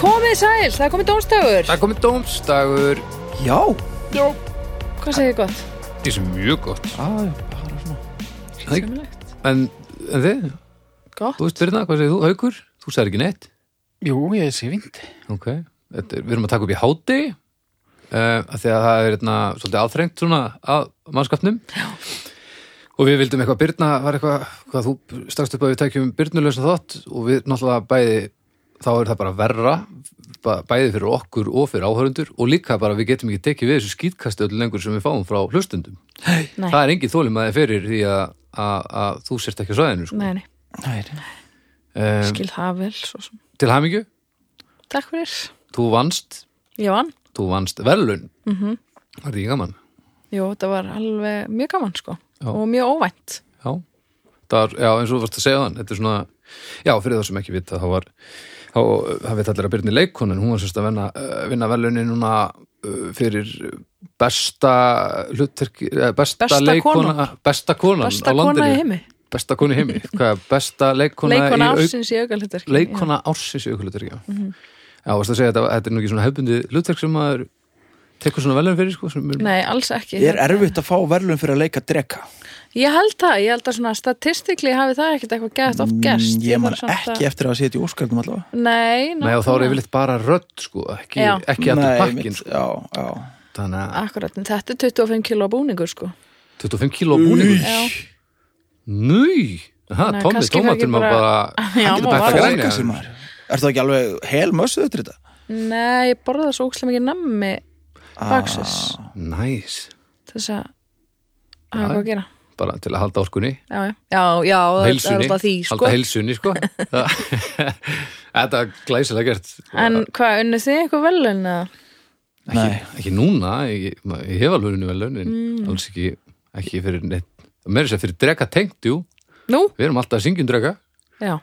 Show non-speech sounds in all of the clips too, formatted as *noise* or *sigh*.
Komið sæl, það er komið dómsdagur Það er komið dómsdagur Já, Já Hvað segir þið gott? Þetta er mjög gott að, bara svona Nei. Sæmilegt En, en þið, Gott þú veist verðna, hvað segir þú? Haukur? Þú sagði ekki neitt Jú, ég sé vind Ok, Þetta, er- við erum að taka upp í háti uh, Þegar það er eitna, svolítið aðþrengt svona að mannskapnum Já Og við vildum eitthvað Byrna var eitthvað, hvað þú stakst upp að við tækjum Byrnulösa þátt og við náttúrulega bæði, þá er það bara verra ba- bæði fyrir okkur og fyrir áhörundur og líka bara við getum ekki tekið við þessu skýtkasti öll lengur sem við fáum frá hlustundum Nei, það er engin þólum að þið fyrir því að, að, að þú sért ekki á svæðinu sko. nei, nei, Nei, um, skil það vel svo sem til hamingju, Takk fyrir þú vannst Ég vann þú vannst verðlun mm Mhm. -hmm. var því gaman Jú, þetta var alveg mjög gaman sko Já. Og mjög óvænt já. Það Var, já, eins og þú varst að segja þann þetta er svona, já, fyrir það sem ekki vita þá var, þá, það veit allir að Byrni leikkonin, hún var sérst að vinna, eh, vinna verðlunin núna eh, fyrir besta hlutverki eh, besta, Besta leikkona besta konan Besta á landinu kona í heimi besta kona í heimi, hvað er besta leikkona, Leikona í au- ársins í augalhutur leikona ársins í aukulutverk já. Mhm. já, varst að segja að þetta, þetta er nú ekki svona hefbundi hlutverk sem maður tekur svona velum fyrir sko, sem er, Nei, alls ekki Er erfitt að fá verðlun fyrir að leika drega? Ég held það, ég held að svona statistikli hafi það ekkert eitthvað gett Mm, oft gerst Mm, Ég man þarf samt ekki eftir að setja í óskarnum allavega að... Nei, Nei, og þá er nákvæmlega. yfirleitt bara rödd sko, ekki, Já. ekki allur Nei, pakkin mitt- sko. Já, já þannig að Akkurat, en þetta er 25 kilo búningur sko 25 kíló búningur Já. Núi, það, Nei, Tommi, kannski tómatur ekki maður bara bara- *laughs* Já, hann getur maður bætt að bara- græni Fóka sem maður Er það ekki alveg hel mössuð eftir þetta? Nei, ég borða svo ókslega mikið nammi Ah. baksus Næs, til þess að hafa hvað að gera bara til að halda orkunni Já, já, já, já það er heilsunni, alltaf því sko. halda heilsunni *laughs* sko Það- Þetta er glæsilega gert *laughs* En hvað, unnu þið eitthvað velun? Nei. ekki, ekki núna, ég, ma- ég hef alveg unni vel laun en Mm. alls ekki, ekki fyrir neitt meira þess að fyrir drega tengt, jú Nú? við erum alltaf að um syngjum drega Já,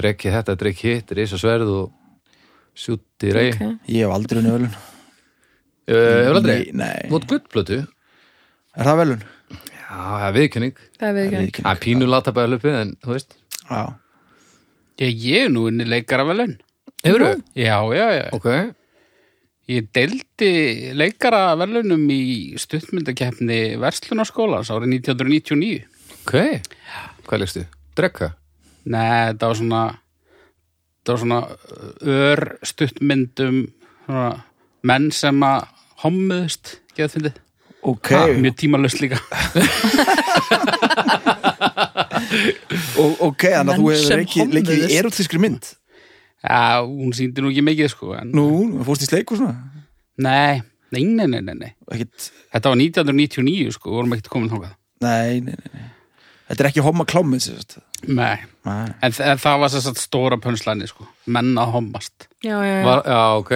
dregi þetta, dregi hitt, reysa sverð og sjúti rey ok okay. Ég hef aldrei unni verðlun uh, hefur aldrei, Nei, nei. mót guttblötu já, Er það verðlun? það er viðkynning Það er við ekki það er pínu latabæðalöpið en þú veist Já Ég, ég er nú unni leikaravelun. hefur þau, Já, já, já. ok Ég deildi leikaravelunum í stuttmyndakeppni Verslunarskólans árið 1999. ok, hvað leikstu? drega, Nei, þetta var svona, þetta var svona ör stuttmyndum svona, menn sem að hommuðust, geða fyndið. Ok, Mjög tímalust líka. og, ok, þannig að þú Menn hefur sem ekki leikið í hommuðust. erotískri mynd Já, hún síndi nú ekki mikið, sko. En, Nú, fórst í sleik og svona nei, nei, nei, nei, nei, nei. Ekkit, Þetta var 1999, sko, við vorum ekkert komin þangað. nei, nei, nei, nei Þetta er ekki homma klámið sér sagt Nei, Nei en, þ- en það var sér satt stóra pönslæni, sko. Menn að hommast. Já, já, já Var, já, ok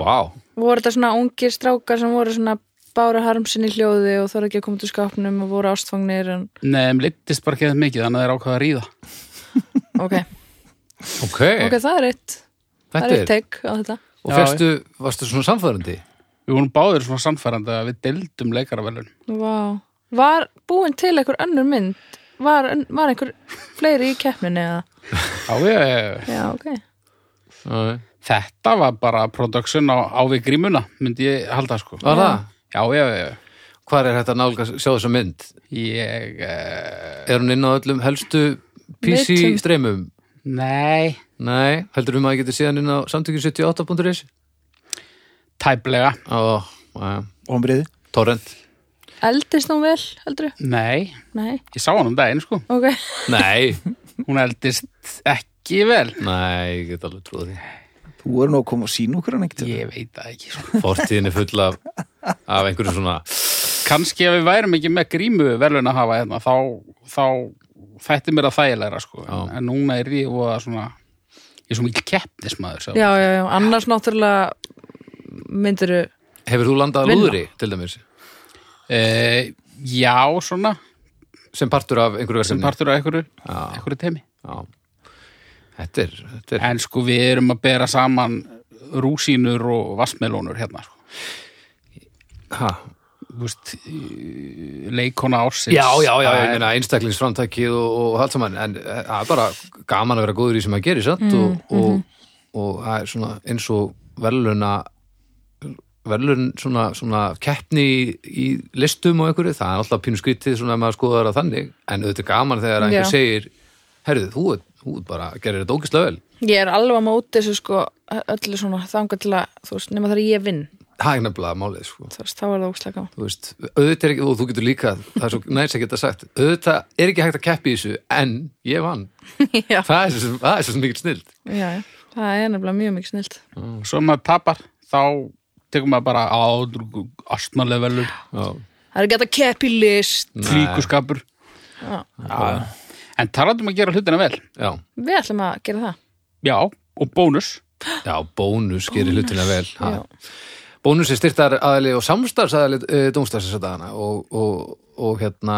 wow. Voru þetta svona ungir strákar sem voru svona bára harmsinn í hljóði og þorðu ekki að koma út úr skápnum og voru ástfangnir en... Nei, þeim leittist bara ekki það mikið, þannig að þeir ákvaða að ríða. Ok, ok, ok, það er eitt Það er þetta eitt er teik á þetta og fyrstu, varstu svona samfærandi? Við vorum báðir svona samfærandi að við deildum leikaravelun. Vá Var búin til einhver önnur mynd? Var, var einhver fleiri í keppninni eða? Já, já, já, já. Já, ok Já, Þetta var bara production á, á við grímuna, myndi ég halda, sko. var það? Já, já, já, já. Hvar er þetta nálga sjá þessa mynd? Ég, uh, Er hún inn á öllum helstu PC Veitum. streymum? nei, Nei, heldur um að ég geti síðan inn á samtökjum 78.is? tæplega, Ó, já, Hombriði torrent Eldist hún vel, heldur? nei. Nei, Ég sá hann um daginn, sko. ok Nei, Hún eldist ekki vel. nei, ég get alveg trúið því Þú er nú að koma og sína okkur hann ekkert Ég veit það ekki, sko. Fortíðin er full af, af einhverju svona Kanski ef við værum ekki með grímu velun að hafa hérna, þá, þá þætti mér að þægilega, sko. En, Já. en núna er ég og svona, ég er svo mikil keppnismæður, sjá. Já, já, já, annars náttúrulega myndiru Hefur þú landað Vinna. lúðri, til dæmis, Uh, já, svona, sem partur af einhverju sem verkefni? partur af einhverju, einhverju teimi. Já, þetta er, þetta er En sko, við erum að bera saman rúsínur og vassmelónur hérna, sko. ha. Þú veist, eh, leikona ársins. Já, já, já, Það ég er- meina einstaklingsframtækið og, og allt saman en eh, það er bara gaman að vera góður í sem að gera, sant? og, og og það er svona eins og verðluna verðlun svona, svona keppni í, í listum og einhverju, það er alltaf pínu skrítið svona að maður skoðar að þannig en auðvitað er gaman þegar einhver Já. segir herðu, þú, ert- þú ert bara gerir þetta ógislega vel Ég er alveg á móti þessu sko öllu svona þanga til að, þú veist, nema þegar ég vinn það er nefnilega málið sko. þú veist, þá er það ókslega gaman. þú veist, auðvitað er ekki, og þú getur líka það er svo næs að geta sagt, auðvitað er ekki hægt að keppi í þessu, en ég vann Já. það er svo, það er svo mikið snild Já, já, það er nefnilega mjög mikið snilt. svo ef maður tapar þá tekur maður bara á astnalega velur, Það er ekki hægt að keppa í list. flíkuskapur Já. en talandi um að gera hlutina vel já, Við ætlum að gera það. já, og bónus já, bónus gerir hlutina vel ha. Já. bónus er styrtar aðli og samstars aðli e, dómstars þess að dagana og, og, og hérna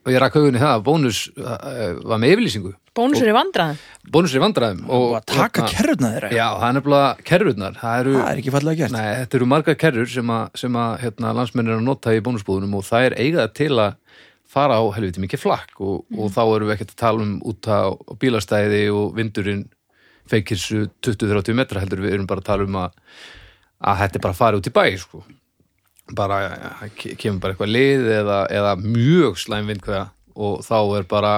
og ég rakk haugunni það að bónus eh, var með yfirlýsingu Bónus er í vandræðum. bónus er í vandræðum og, og að taka hérna, kerruna þeirra já, það er nefnilega kerrurnar það eru, það er ekki fallega gert Nei, þetta eru margar kerrur sem að, sem að hérna, landsmenn er að nota í bónusbúðunum og það er eigað til að fara á helviti mikið flakk og, og þá erum við ekkert að tala um út á á bílastæði og vindurinn feikir svo 20-30 metra heldur við erum bara að tala um að, að þetta er bara að fara út í bæ sko. bara ja, ke- kemur bara eitthvað lið eða, eða mjög slæm vindkvæða og þá er bara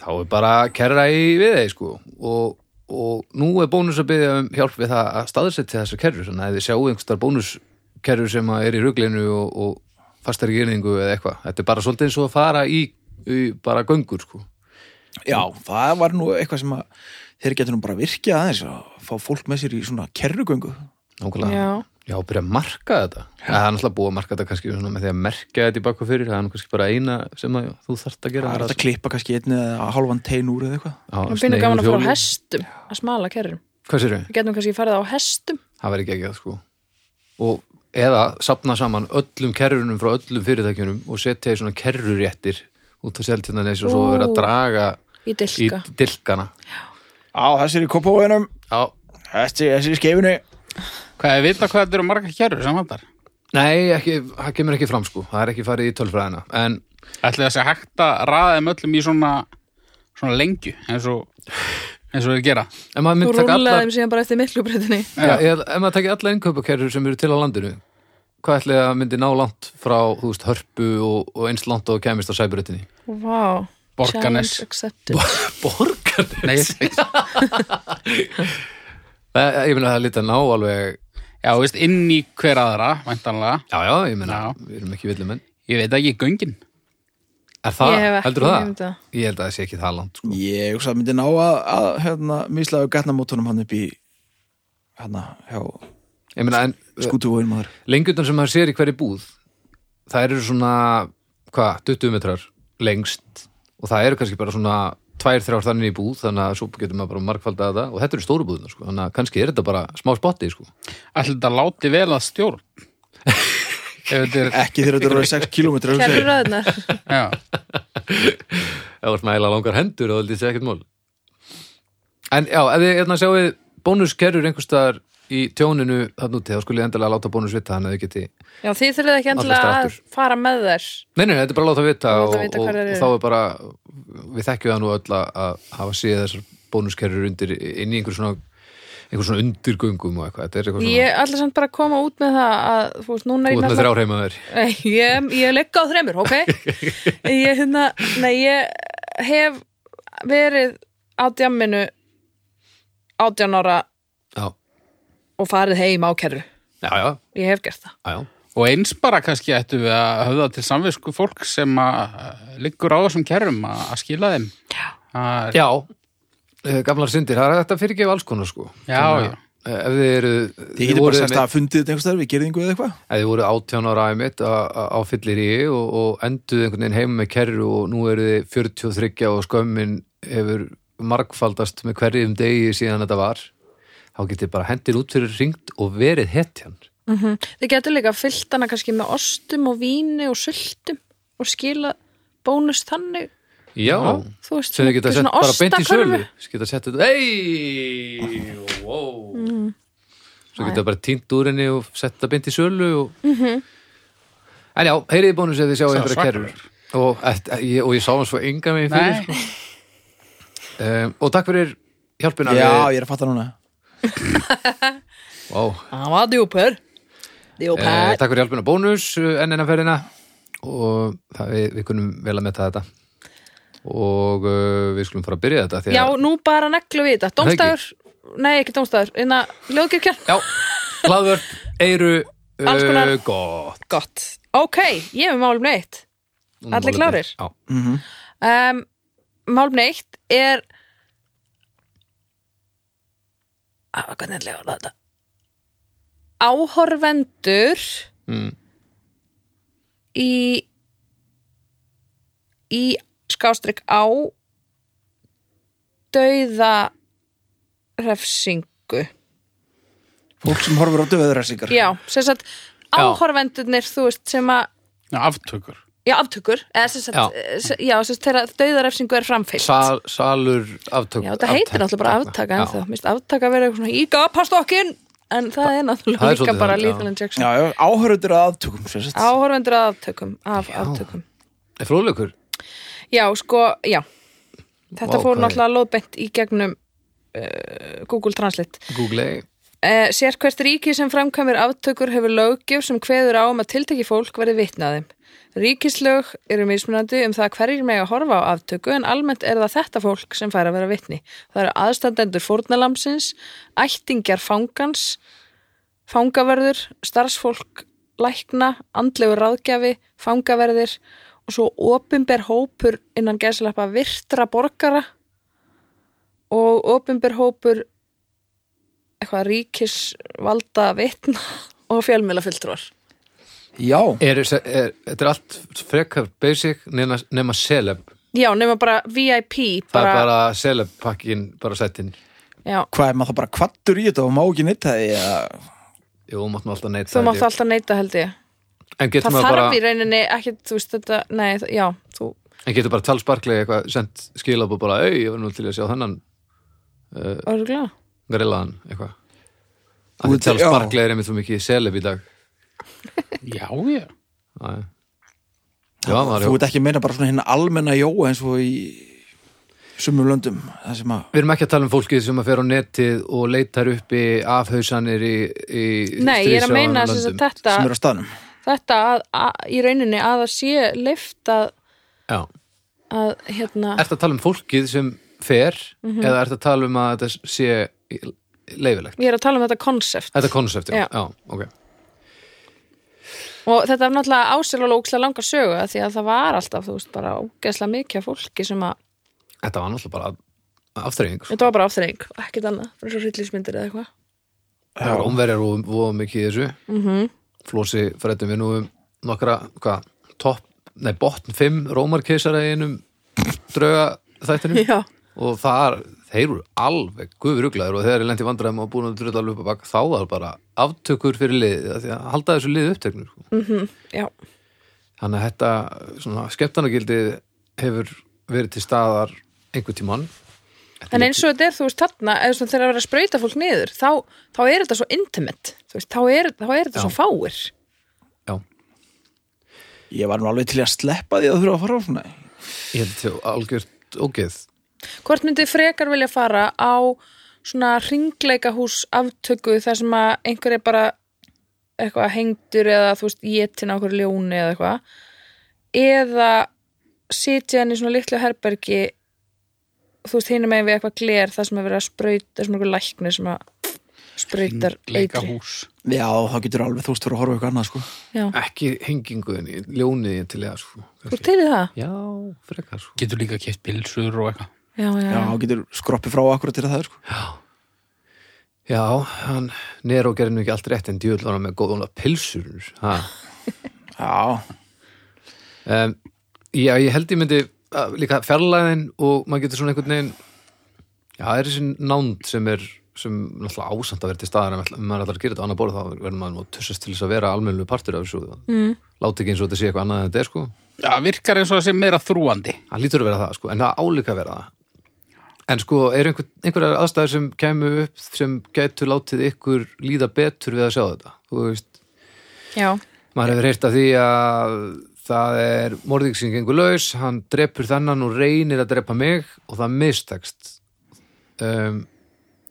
þá er bara kerra í við þeir sko og, og nú er bónus að byggja um hjálp við það að staðsetja þessar kerrur þannig að ef þið sjáu einhverstar bónuskerrur sem að er í ruglinu og, og fastar í gerningu eða eitthvað, þetta er bara svolítið eins og að fara í, í bara göngur sko já, það var nú eitthvað sem að þeir getur nú bara virkið aðeins að fá fólk með sér í svona kerrugöngu Nákvæmlega. Já. Já, byrja að marka þetta Það er náttúrulega búið að marka þetta kannski svona með því að merkja þetta í baku fyrir, það er nú kannski bara eina sem að þú þarft að gera það er hægt að klippa kannski einn eða hálfan tein úr eða eitthvað Já, Við finnum sneig úr gaman að fara á hjóli. hestum, að smala kerrum. Hvað sérðu? Við getum kannski farið á hestum. það verður ekki ekki það sko og eða sapna saman öllum kerrunum frá öllum fyrirtækjunum og setja í svona kerruréttir út á seltjarnanes og svo Ú. vera að draga Í dilka. í dilkana á, þessi er í kopóinum, Já. þessi, þessi er í skeifinu hvað er vita hvað þetta eru margar kerrur sem vantar Nei, ekki, það kemur ekki fram sko það er ekki farið í tölfræðina en ætli það sé hægt að raða þeim öllum í svona svona lengju eins og eins og þeir gera ef maður Þú myndi taka rúlaði allar þeim síðan bara eftir miklubrytinni. já, eða, ef maður taki allar innkaupakerrur sem eru til á landinu hvað ætli að myndi ná langt frá þú veist, hörpu og, og eins langt og kemist á sæbrötinni Vá. Borgarnes. Challenge accepted. Borgarnes? Nei, ég segi ekki. Ég meina það er lítið að ná alveg já, þú veist, inn í hver aðra væntanlega, Já, já, ég meina, Já. við erum ekki villumenn ég veit ekki göngin Er það, Ég hef ekki heldur það? hugmynd um það. Ég held að það sé ekki það langt sko. ég hugsa að myndi ná að, að hérna, mislaðu gatnamótunum hann upp í hérna, hjá Ég meina, en skútuvóin maður lengjutun sem maður sér í hverju búð það eru svona, hvað, 20 metrar lengst og það eru kannski bara svona 2-3 þannig í búð þannig að svo getur maður bara margfaldið að það og þetta eru stóru búðuna, sko, þannig að kannski er þetta bara smá spotti, sko. ætli þetta láti vel að stjórn ef þetta er ekki þegar þetta eru 6 km Kerruræðnar. já, Ef þú ert með eila langar hendur og það er ekkert mál En já, ef þið hérna sjáu bónuskerrur einhverstaðar í tjóninu þarna úti, þá skulle ég endilega láta bónus vita þannig að þið geti Já, þið þurfið ekki endilega Allir að stráttur. fara með þær. Nei, nei, þetta er bara að láta vita, Bara og, láta vita og, hvar þær og eru. þá er bara við þekkjum það nú öll að, að hafa séð þessar bónuskerrur undir inn í einhver svona, einhver svona undirgöngum og eitthvað, þetta er eitthvað svona Ég ætla samt bara að koma út með það að, þú veist, núna er þú ert ég með náttúrulega- þrjár heima þér Nei, ég, ég legg á þremur, *laughs* ok? Ég, hérna, nei, ég hef verið á djamminu átján ára Já, og farið heim á kerru. já, já, Ég hef gert það. já, já. og eins bara kannski ættu við að höfða til samvisku fólk sem að eh, liggur á þessum kerrum að að skila þeim að, Já, eh, gamlar syndir, það er þetta fyrirgefa alls konar sko Já, Þannig að, já. eh, Ef þið eru Þið getur bara sérst að fundið þetta einhvers þar við gerðingu eða eitthvað eða þið voru 18 ára æmitt á fyllir í og, og enduð einhvern veginn heima með kerru og nú eru þið 43 og skömmin hefur margfaldast með hverjum degi síðan þetta var þá getið bara hendir út fyrir ringt og verið hetjan Mhm. Þið getur líka fyllt hana kannski með ostum og víni og sultum og skila bónus þannig. Já, Þú veist, sem þið geta sett svona bara beint í ostakörfu. sölu Þið geta sett þetta, ei, wow Mm. Svo geta bara tínt úr henni og sett þetta beint í sölu og... Mhm. En já, heyriði bónus ef þið sjáu Það er einhverja kerrur eh, *laughs* og, og, ég, og ég sá hans svo enga megin fyrir nei, Um, Ehm, og takk fyrir hjálpina Já, við- ég er að fatta núna Vá, Hann var djúpur Djúpur Eh, takk fyrir hjálpina bónus eh, enn eina ferðina og það, við, við kunum vel að metta þetta og uh, við skulum fara að byrja þetta því Já, að, nú bara neglu við þetta Það ekki? Dómstæður, nei ekki Hérna, dómstæður Inna ljóðkirkjan, já hlaðvörp, eiru, Alls konar. gott gott Ok, ég er með málum neitt Allir klárir? Já, um, Málum neitt er ah, Hvernig ætla ég að orða þetta Áhorvendur Mm. Í Í skástrík á Dauða Refsingu Fólk sem horfur á döðræsingar Já, sem sagt áhorfendurnir, þú veist, sem að Já, aftökur. já, aftökur, eða sem sagt Já. eh, se- já, sem sagt, þegar dauðarefsingu er framfyllt Sal, salur aftök Já, þetta heitir náttúrulega bara aftaka en þá, minnst aftaka verið eitthvað svona íga, pastokkin en það er náttúrulega Það er líka svolítið bara þannig, já. Lethal Injection Já, já áhörður að aðtökum sem sagt. Áhorfendur að aftökum, af aftökum Fróðleikur, Já, sko, já Þetta Vá, hvað fór er- náttúrulega lóðbent í gegnum uh, Google Translate Google Eh, Sér hvert ríki sem framkvæmir aftökur hefur löggjöf sem kveður á um að tiltæki fólk verði vitnaði. Ríkislög eru mismunandi um það hverjir megi að horfa á aftöku en almennt er það þetta fólk sem fær að vera vitni. Það eru aðstandendur fórnalamsins, ættingjar fangans, fangaverður, starfsfólk, lækna, andlegur ráðgjafi, fangaverðir og svo opinber hópur innan gæslappa virtra borgara og opinber hópur eitthvað ríkisvalda vitna *laughs* og fjölmjöla fulltrúar Já, er, er, er, Þetta er allt frekar basic nema, nema celeb já, nema bara VIP Það bara, er bara celeb pakkin, bara settin já, hvað er maður þá bara kvattur í þetta og má ekki neitt það eða Jú, máttum alltaf neitt þú mátt alltaf neita held ég En getur það maður þarf bara í rauninni ekki, þú veist þetta nei, þ- já, þú, En getur bara talsparklega eitthvað sendt skilab og bara, au, ég var nú til að sjá þennan Eh, örgulega grillaðan eitthvað Út- Þú já. talsparklega er einmitt svo mikið seleb í dag Já, já. Æ. Já, maður, Þú já. veit ekki að meina bara svona hérna almenna jóa eins og í sumum löndum það sem að Við erum ekki að tala um fólkið sem að fer á netið og leitar uppi afhauðsanir í, í nei, ég er að meina sem stríðshrjáðum sagt þetta, sem er á staðnum þetta að, að, í rauninni að það sé leift að, Já. að hérna, Ertu að tala um fólkið sem fer Mhm. eða ertu að tala um að þetta sé leifilegt? ég er að tala um þetta konsept Þetta er konsept, já. Já. já ok. og þetta er náttúrulega ásirlega ókslega langa sögu af því að það var alltaf, þú veist, bara ógeðslega mikið af fólki sem að, Þetta var náttúrulega bara aftreying. sko. þetta var bara áþreying ekkert annað, bara svo hryllismyndir eða eitthvað Það var omverjar og voða mikið í þessu. Mm Mhm. -hmm. Flósi frættum við nú um nokkra, hvað, topp, nei, botn 5 rómarkeisara í einum drauga þættinum. *laughs* já, og þar, þeir eru alveg guðuruglaður og þegar ég lenti í vandræðum og búin að dröða alveg upp að baka þá var bara aftökur fyrir liðið, af því að halda þessu liðið upptöknur sko. Mm. já þannig að þetta svona skeptanagildið hefur verið til staðar einhvern tímann En eins og þetta er, þú veist, þarna, eða svona þegar það er að vera að sprauta fólk niður, þá, þá er þetta svo intimate, þú veist, þá er, þá er þetta svo fáir. já, Ég var nú alveg til að sleppa því að þurfa að fara á svona ég held til algjört ógeð Hvort myndið frekar vilja fara á svona ringleikahús aftöku þar sem að einhver er bara eitthvað hengdur eða, þú veist, jetin á okkur ljóni eða eitthvað, eða sitja hann í svona litlu herbergi, þú veist, hinum megin við eitthvað gler þar sem er verið að sprauta, þar sem er eitthvað læknir sem að sprautar Leika eitri. hús. Já, þá getur alveg þúst fyrir að horfa á eitthvað annað sko Já, ekki henginguðin, ljóniðin til eða sko, þú kannski. til í það? já, frekar sko Getur líka keitt pilsur og eitthvað. Já, já, Já, þá getur skroppið frá akkurat til það sko já, hann, Nero gerði nú ekki allt rétt en djöðl var hann með góðan pilsur ha Já, um, Já, ég held ég myndi að, líka fjarlæðin og maður getur svona einhvern veginn Já, það er þessi nánd sem er sem náttúrulega ásamt að vera til staðar en ef maður ætlar að gera þetta á annað borð þá verður maður nú að tussast til þess að vera almennlu partur af þessu mm. Láti ekki eins og þetta sé eitthvað annað en þetta er sko Já, virkar eins og það sé meira þrúandi. Það lítur að vera það sko, en það álíka að vera það En sko, eru einhver, einhverjar aðstæður sem kæmu upp sem gætu látið ykkur líða betur við að sjá þetta? Þú veist, já. maður hefur heyrt af því að það er morðing sem gengur laus hann drepur þennan og reynir að drepa mig og það mistekst um,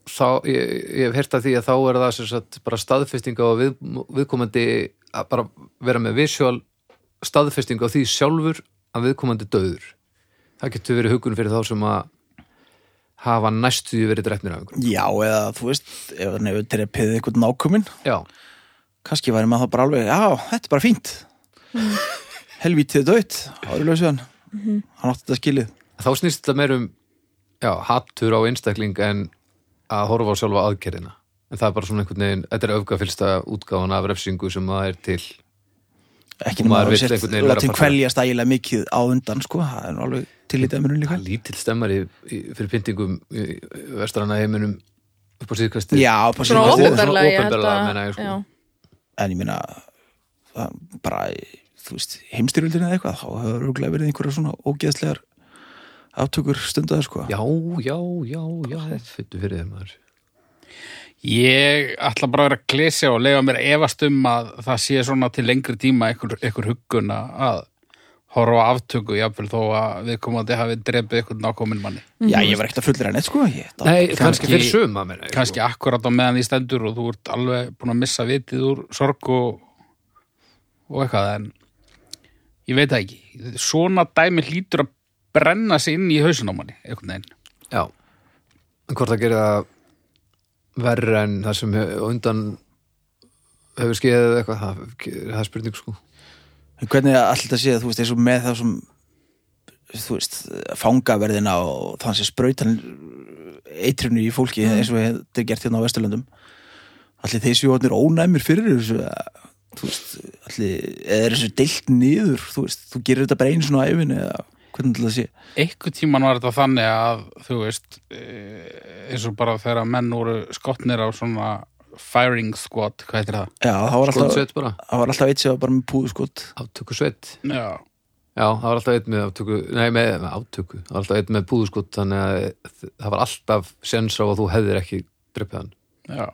þá, ég, ég hef heyrt að því að þá er það sem sagt bara staðfesting á að við, viðkomandi að bara vera með visual staðfesting á því sjálfur að viðkomandi döður það getur verið hugun fyrir þá sem að hafa næstu því verið drefnir af einhverjum Já, eða þú veist, ef hann hefur terapið eitthvað nákuminn, já, kannski væri maður þá bara alveg, já, þetta er bara fínt. *laughs* Helvítið dött, árið hann. Hann átti þetta skilið. þá snýst þetta meir um já, hattur á einstakling en að horfa á sjálfa aðgerðina en það er bara svona einhvern veginn, þetta er öfgafylsta útgáfan af refsingu sem það er til Ekki Og nema maður að vill sett einhvern veginn vera látin að fara- kveljast ægilega mikið á undan, sko. Það er nú alveg til í dæmurinn líka. Það er lítill stemmari í, fyrir pyntingum í í vestrana heiminum upp á síðkvæsti Já, bara Svona Svona sem- ópendarlega, ég held opinberlega, að meina ég, sko. já. en ég meina það bara, þú veist, heimstyrjöldin eða eitthvað, þá hefur örugglega verið einhverja svona ógeðslegar aftökur stundaðar sko. já, já, já, já Fyttu fyrir þeim maður Ég ætla bara að vera að klesja og lega mér að efast um að það sé svona til lengri tíma einhver, einhver huggun að- að horfa á aftöku jafnvel þó að viðkomandi hafi drepið einhvern nákominn manni. Já, Mhm. ég var ekkert að fullera neitt sko. Ég, það- Nei, kannski- kannski fyrir suma meina ég, Kannski akkurat á meðan því stendur og þú ert alveg búin að missa vitið úr sorg og, og eitthvað en ég veit það ekki. Svona dæmi hlýtur að brenna sig inn í hausin á manni einhvern veginn. sko. Já, en hvort það gerir það verra en það sem hef, undan hefur skeið eða eitthvað, það, það er spurning sko En Hvernig alltaf sé að þú veist, eins og með það sem þú veist, fangaverðina og þann sem sprautan eitrinu í fólki eins og þetta er gert hérna á Vesturlöndum allir þeir séu orðnir ónæmir fyrir þessu að, þú veist, allir eða er þessu deilt niður, þú veist þú gerir þetta bara einu svona æfin eða hvernig ætli það sé einhvern tíman var þetta þannig að þú veist eh, eins og bara þegar menn voru skotnir á svona firing squad, hvað heitir það? Já, það var alltaf, Skotsveit bara, það var alltaf eitt sem var bara með púðskot aftöku sveit Já, Já, það var alltaf einn með aftöku Nei, með, með aftöku, það var alltaf einn með púðuskot þannig að það var alltaf sens á að þú hefðir ekki drepið hann já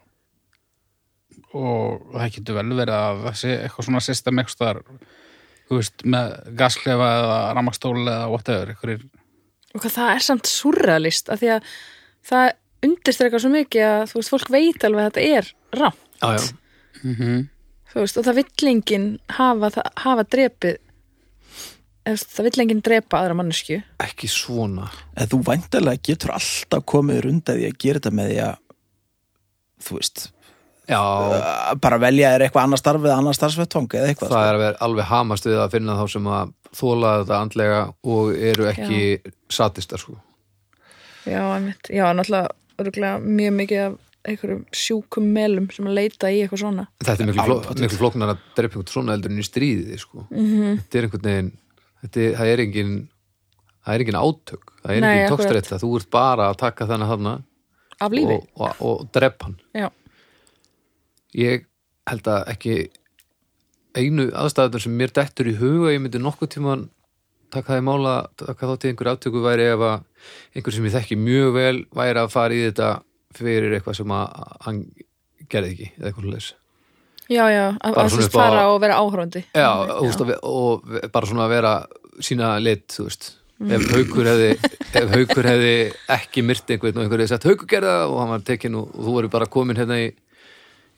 og það getur vel verið að það sé eitthvað svona system eitthvað staðar, þú veist, með gasklefa eða ramakstól eða whatever einhverjir, og hvað það er samt surrealist af því að það undirstrekar svo mikið að þú veist, fólk veit alveg að þetta er rám Já, já þú veist, og það vill enginn hafa, það- hafa drepið eða, þú veist, það vill enginn drepa aðra mannesku ekki svona en þú væntalega getur alltaf komið runda því að gera þetta með því að þú veist, já, að uh, bara velja er eitthvað annar starf eða annar starfsvettvang eða eitthvað það er að vera alveg hamast við að finna þá sem að þóla þetta andlega og eru ekki satistar sko já, einmitt, já, náttúrulega örugglega mjög mikið af einhverjum sjúkum melum sem að leita í eitthvað svona þetta er miklu, fló, miklu flóknar að drepa einhvern svona eldur en í stríði sko Mhm. -hmm. þetta er einhvern veginn þetta, er- það er engin það er engin átök, það er Nei, engin akkurat. tókstreita þú ert bara að taka þennan þarna af lífi, og, og, og drepa hann já, ég held að ekki einu aðstæðunar sem mér dettur í huga ég myndi nokkuð tíman taka það í mála, taka þátt í einhver aftöku væri ef að einhver sem ég þekki mjög vel væri að fara í þetta fyrir eitthvað sem að hann gerði ekki eða eitthvað leys já, já að, Bara að þú svona veist, upp á- fara og vera áhróndi Já, úst, og, og bara svona að vera sína lit, þú veist ef haukur hefði, ef haukur hefði ekki myrt einhvern og einhver hefði sett haukur gerða og hann var tekinn og, og þú voru bara komin hérna í,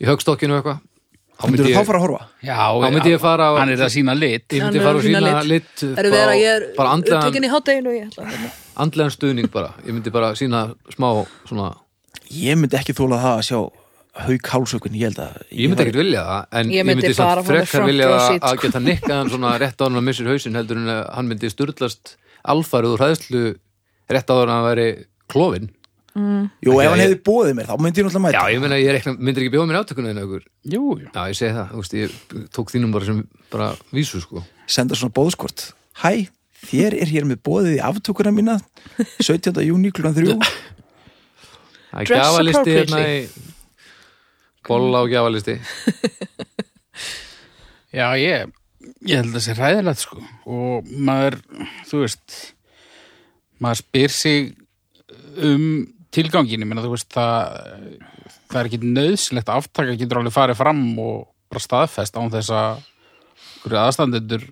í högstokkinu og eitthvað Þá myndi myndir ég- þá fara að horfa já, Þá myndi ég fara á- hann er það sína ég lit myndi Hann er fara og að sýna sína lit. lit upp eru á- þeirra, ég er bara andlegan, upptekin í hátteginu og ég ætla að andlegan stuðning bara ég myndi bara sína smá svona, ég myndi ekki þóla það að sjá haug hálsökun, ég held að ég myndi ekkert vilja það en Ég ég myndi myndi, bara samt fá mig frekar front vilja row það seat, að sko. geta nikkaðan svona rétt á hann að missir hausinn heldur en að hann myndi styrlast alfarið úr hræðslu rétt á hann að hann væri klófin jú, ef hann ég- hefði bóðið mér, þá myndi ég náttúrulega já mæta ég meina ég rekna, myndir ekki bjóða mér átökuna þinn aukur Jú, jú. já ég segi það, þú veist, ég tók þínum bara sem bara vísu sko senda svona bóðskort hæ, þér er hér með bóðið í *laughs* aftökuna mína 17. júni kl. 3 það er Dress gjafalisti hérna í appropriately. bolla og gjafalisti Já, ég, ég held að það sé ræðilegt sko og maður, þú veist maður spyr sig um tilgangin ég meina þú veist það það er ekki nöðsilegt aftaka getur alveg farið fram og bara staðfest án þess að hverju aðstandendur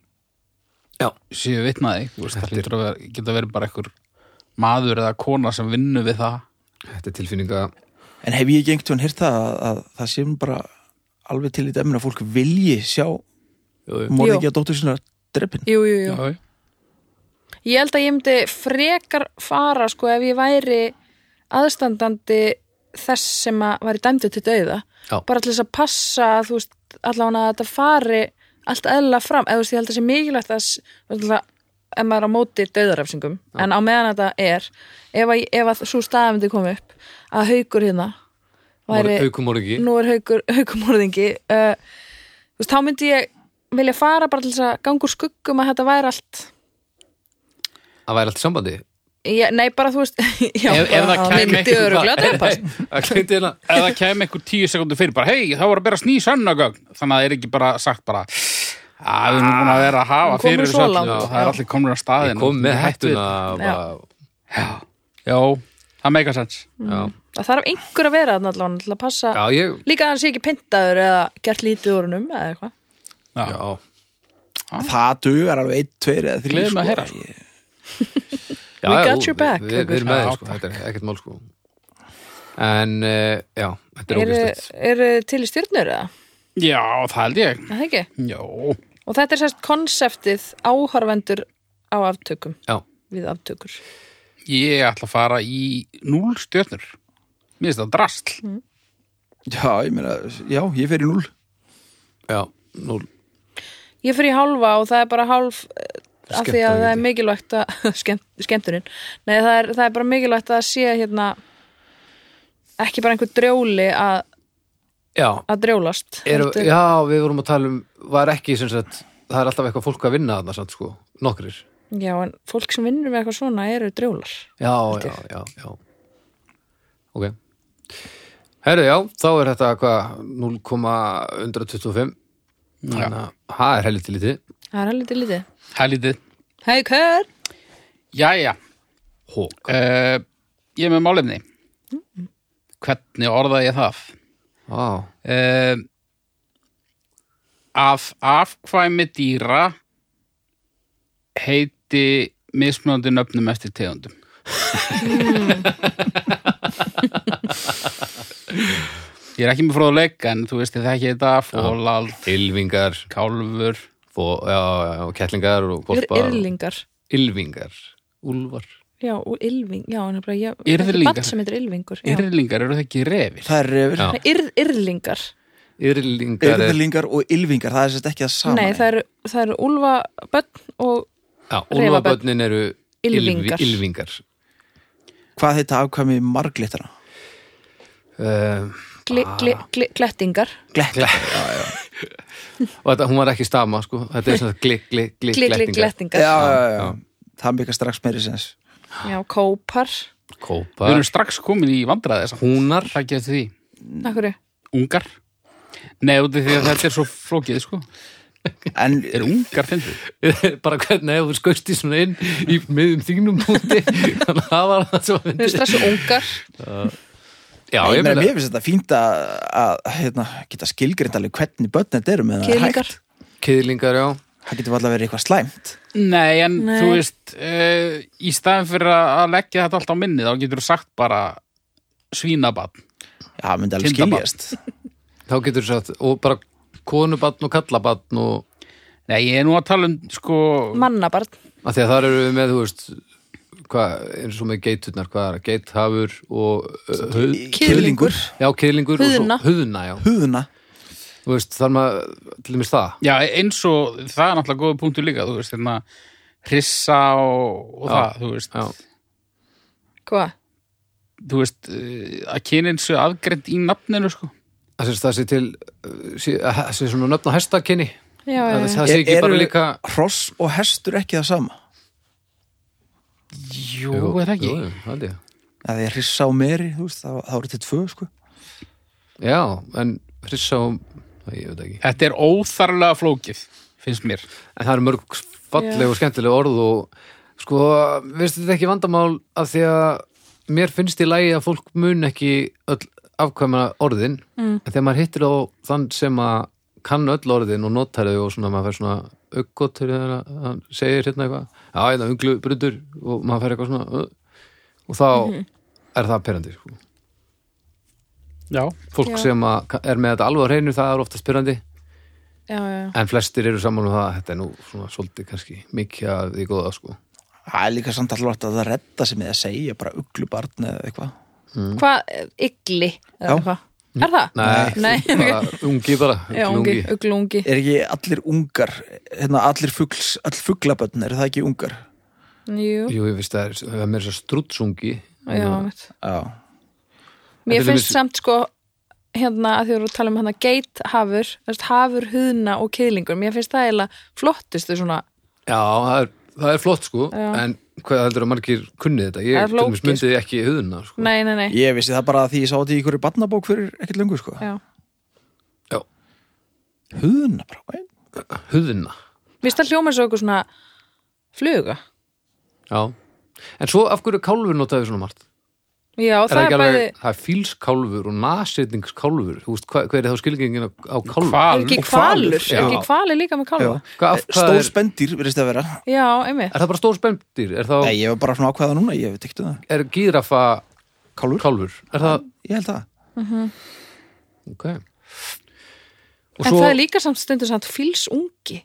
Já. séu vitnaði þú veist, það lítur að vera, geta verið bara einhver maður eða kona sem vinnu við það þetta er tilfinninga En hef ég ekki einhvern veginn hýrt það að, að það sé nú bara alveg til í dæminu að fólk vilji sjá Jú, morðingja dóttur sinna drepin? Jú, jú, jú. jú. Ég held að ég myndi frekar fara sko ef ég væri aðstandandi þess sem að væri dæmdu til dauða Já. bara til þess að passa að þú veist allan að þetta fari allt eðla fram eða þú veist ég held að sé mikilvægt að s- þú veist, náttúrulega, ef maður er á móti dauðarefsingum en á meðan þetta er ef að, ef að svo staða myndi koma upp að haukur hérna væri, aukumorgi nú er haukur, *laughs* haukumorðingi uh, þú veist, þá myndi ég vilja fara bara til þess að gangur skuggum um að þetta væri allt að væri allt í sambandi Já, nei, bara þú veist *laughs* já, Ef- ef það kæmi myndi einhver- öruglega drepast að kleinti hérna ef það kemur einhver tíu sekundu fyrir bara hei, það voru að bera sný sönnagögn þannig að það er ekki bara sagt bara að við erum búin að vera að hafa Hún komin fyrir þessu svo öllu." langt. Já, það er Já. allir komnir á staðin ég kom með hættuna Já. já, það meika sens já. Það þarf einhver að vera þarna allan til að passa já, ég Líka að hann sé ekki pyntaður eða gert lítið úr húnum eða eitthvað já. já, Það dugar alveg einn, tveir eða þrý Gleður mig að heyra, sko. já, We já, got your back, við, við, við erum með Haukur. þér sko, þetta er ekkert mál sko en uh, já, þetta er Eru ógæstlegt eru til í stjörnur eða? já, það held ég Er Það ekki já, Og þetta er sérst konseptið áhorfendur á aftökum já, Við aftökur ég ætla að fara í núl stjörnur mér finnst það drastl Já, ég meina, já, ég fer í núl. já, nú Ég fyrir í hálfa og það er bara hálf eh, af því að það er Skemmtanagildi. mikilvægt að *laughs* skemmt, skemmtunin, nei það er, það er bara mikilvægt að sé hérna ekki bara einhver drjóli að, já, að drjólast er, heldur- já, við vorum að tala um var ekki sem sagt, það er alltaf eitthvað fólk að vinna þarna samt sko, nokkrir Já, en fólk sem vinnur með eitthvað svona eru drjólar. já, já, já, já ok herru, já, þá er þetta hvað 0,125 þannig að það er helviti lítið Það er helviti lítið. hælítið Hei, hver? Jæja, hók, uh, ég er með málefni Hvernig orða ég það? á, Uh, af afkvæmi dýra heiti mismunandi nöfnum eftir tegundum Ég er ekki með fróðuleik en þú veist þið þekki þetta fólald, ylvingar kálfur fó, já, já, já, kettlingar og Er golpar og- yrlingar. ylvingar, úlvar Já, og ylving. Já, en það er bara, ég, Yrðlingar. Bann sem heitir ylvingur. já. Yrlingar eru það ekki refir Það er yfir. Já. Nei, Yrð, yrlingar. yrlingar er, Yrðlingar og ylvingar, það er sérst ekki það sama. Nei, það eru, það eru úlfabönn og já, úlfabötnin eru Ylfingar. ylvi- ylfingar Hvað heita afkvæmi marglittana? uh, gli, gli, gli, glettingar. Glett og þetta, hún var ekki stama sko þetta er svona gli, gli, gli, Gli, gli, glettingar Já, glettingar. já, já. Það mikar strax meiri sens. Já, kópar. Við kópar, erum strax komin í vandræði samt. húnar Það getur því Akkur, ungar Nei, út af því að þetta er svo flókið sko. En Er ungar *laughs* fyndir? bara hvernig ef þú skausti svona inn í miðum þínum punkti þannig að það var það sem að þau eru myndi stressu ungar. *laughs* já, ég ég meina, meina, mér finnst þetta fínt að, að hérna, geta skilgrind alveg hvernig börn þetta eru með það Kýrlingar. hægt. kýðlingar, já Það getur alltaf verið eitthvað slæmt. Nei, en Nei. þú veist uh, í staðin fyrir að að leggja þetta allt á minni þá getur þú sagt bara svínabann Já, það myndi alveg Kindabarn. skiljast. þá getur þú sagt, og bara konubatn og kallabatn og Nei, ég er nú að tala um sko Mannabarn. að því að þar eru við með, þú veist hvað, eins og með geiturnar, hvað er það geithafur og uh, höð, Kýrlingur. já, kýðlingur Huðuna. og svo huðuna, já, Húðuna. þú veist, þar maður til dæmis það, Já, eins og það er náttúrulega góða punktur líka þú veist, hérna hrissa og, og Já. það, þú veist já, Hvað? þú veist, eh, að kynin séu aðgreint í nafninu sko það sé, það sé til uh, sé, að- það sé svona nöfn á hestakinni Já, já, það, já. það sé ekki Eru bara líka Hross og hestur ekki það sama. Jú, er það ekki? jú, það held ég. Það er hrissa og meri, þú veist, það, það voru til tvö, sko. já, en hrissa og Æ, ég veit ekki, Þetta er óþarlega flókið finnst mér en það eru mörg falleg Já. og skemmtileg orð og sko, veistu þetta ekki vandamál af því að mér finnst í lagi að fólk mun ekki öll afkvæma orðin, mm. en þegar maður hittir á þann sem að kann öll orðin og notar þau og svona maður fær svona aukot þegar hann- hann segir hérna eitthvað, já, Mhm. hérna unglu brundur og maður fær eitthvað svona uh, og þá er það perandi, sko Já, fólk Já. sem að, er með þetta alveg á hreinu það er ofta spyrrandi já, já, já. en flestir eru saman um það að þetta er nú svona svolítið kannski mikið að því góða sko Það er líka samt allveg að það redda sem ég að segja bara uglu barn eða eitthvað Mm. Hvað, ygli? Já. Er það? Nei, Nei. *laughs* bara ungi bara Já, uglungi. ungi, uglungi Er ekki allir ungar hérna, allir fugls, all fuglabönn er það ekki ungar? Jú, Jú, ég veist að það er- það er meira svo strútsungi já, mitt Já, En Mér til finnst dæmis- samt sko hérna að því voru að tala um hérna geit hafur, veist, hafur, huðna og kýðlingur mér finnst það eiginlega flottustu svona Já, það er, það er flott sko Já. en hvað heldur að margir kunni þetta Það er ég til dæmis flókið, myndi sko. ekki huguna sko. nei, nei, nei, ég vissi það bara að því ég sá þetta í ykkur barnabók fyrir ekkert löngu sko já Já, Húðuna bara, veit huguna Mér finnst það hljóma svo okkur svona fluga Já, en svo af hverju er kálfur notaði svona margt? Já, það, það, er bæði það er fílskálfur og nasetningskálfur Þú veist, hver, hver er þá skilgengin á, á kálfur? er hval ekki og hvalur, hvalur, er ekki já. hvalir líka með kálfa Hvað, af, hvað Stór er, spendir verðist það að vera Já, einmitt er það bara stór spemdir? Er, þá, Nei, ég var bara svona ákveða núna, ég veit ekki um það er gírafa Kálfur? kálfur? Er það, Ég held það ok Og En það er líka samt stundur samt fylsungi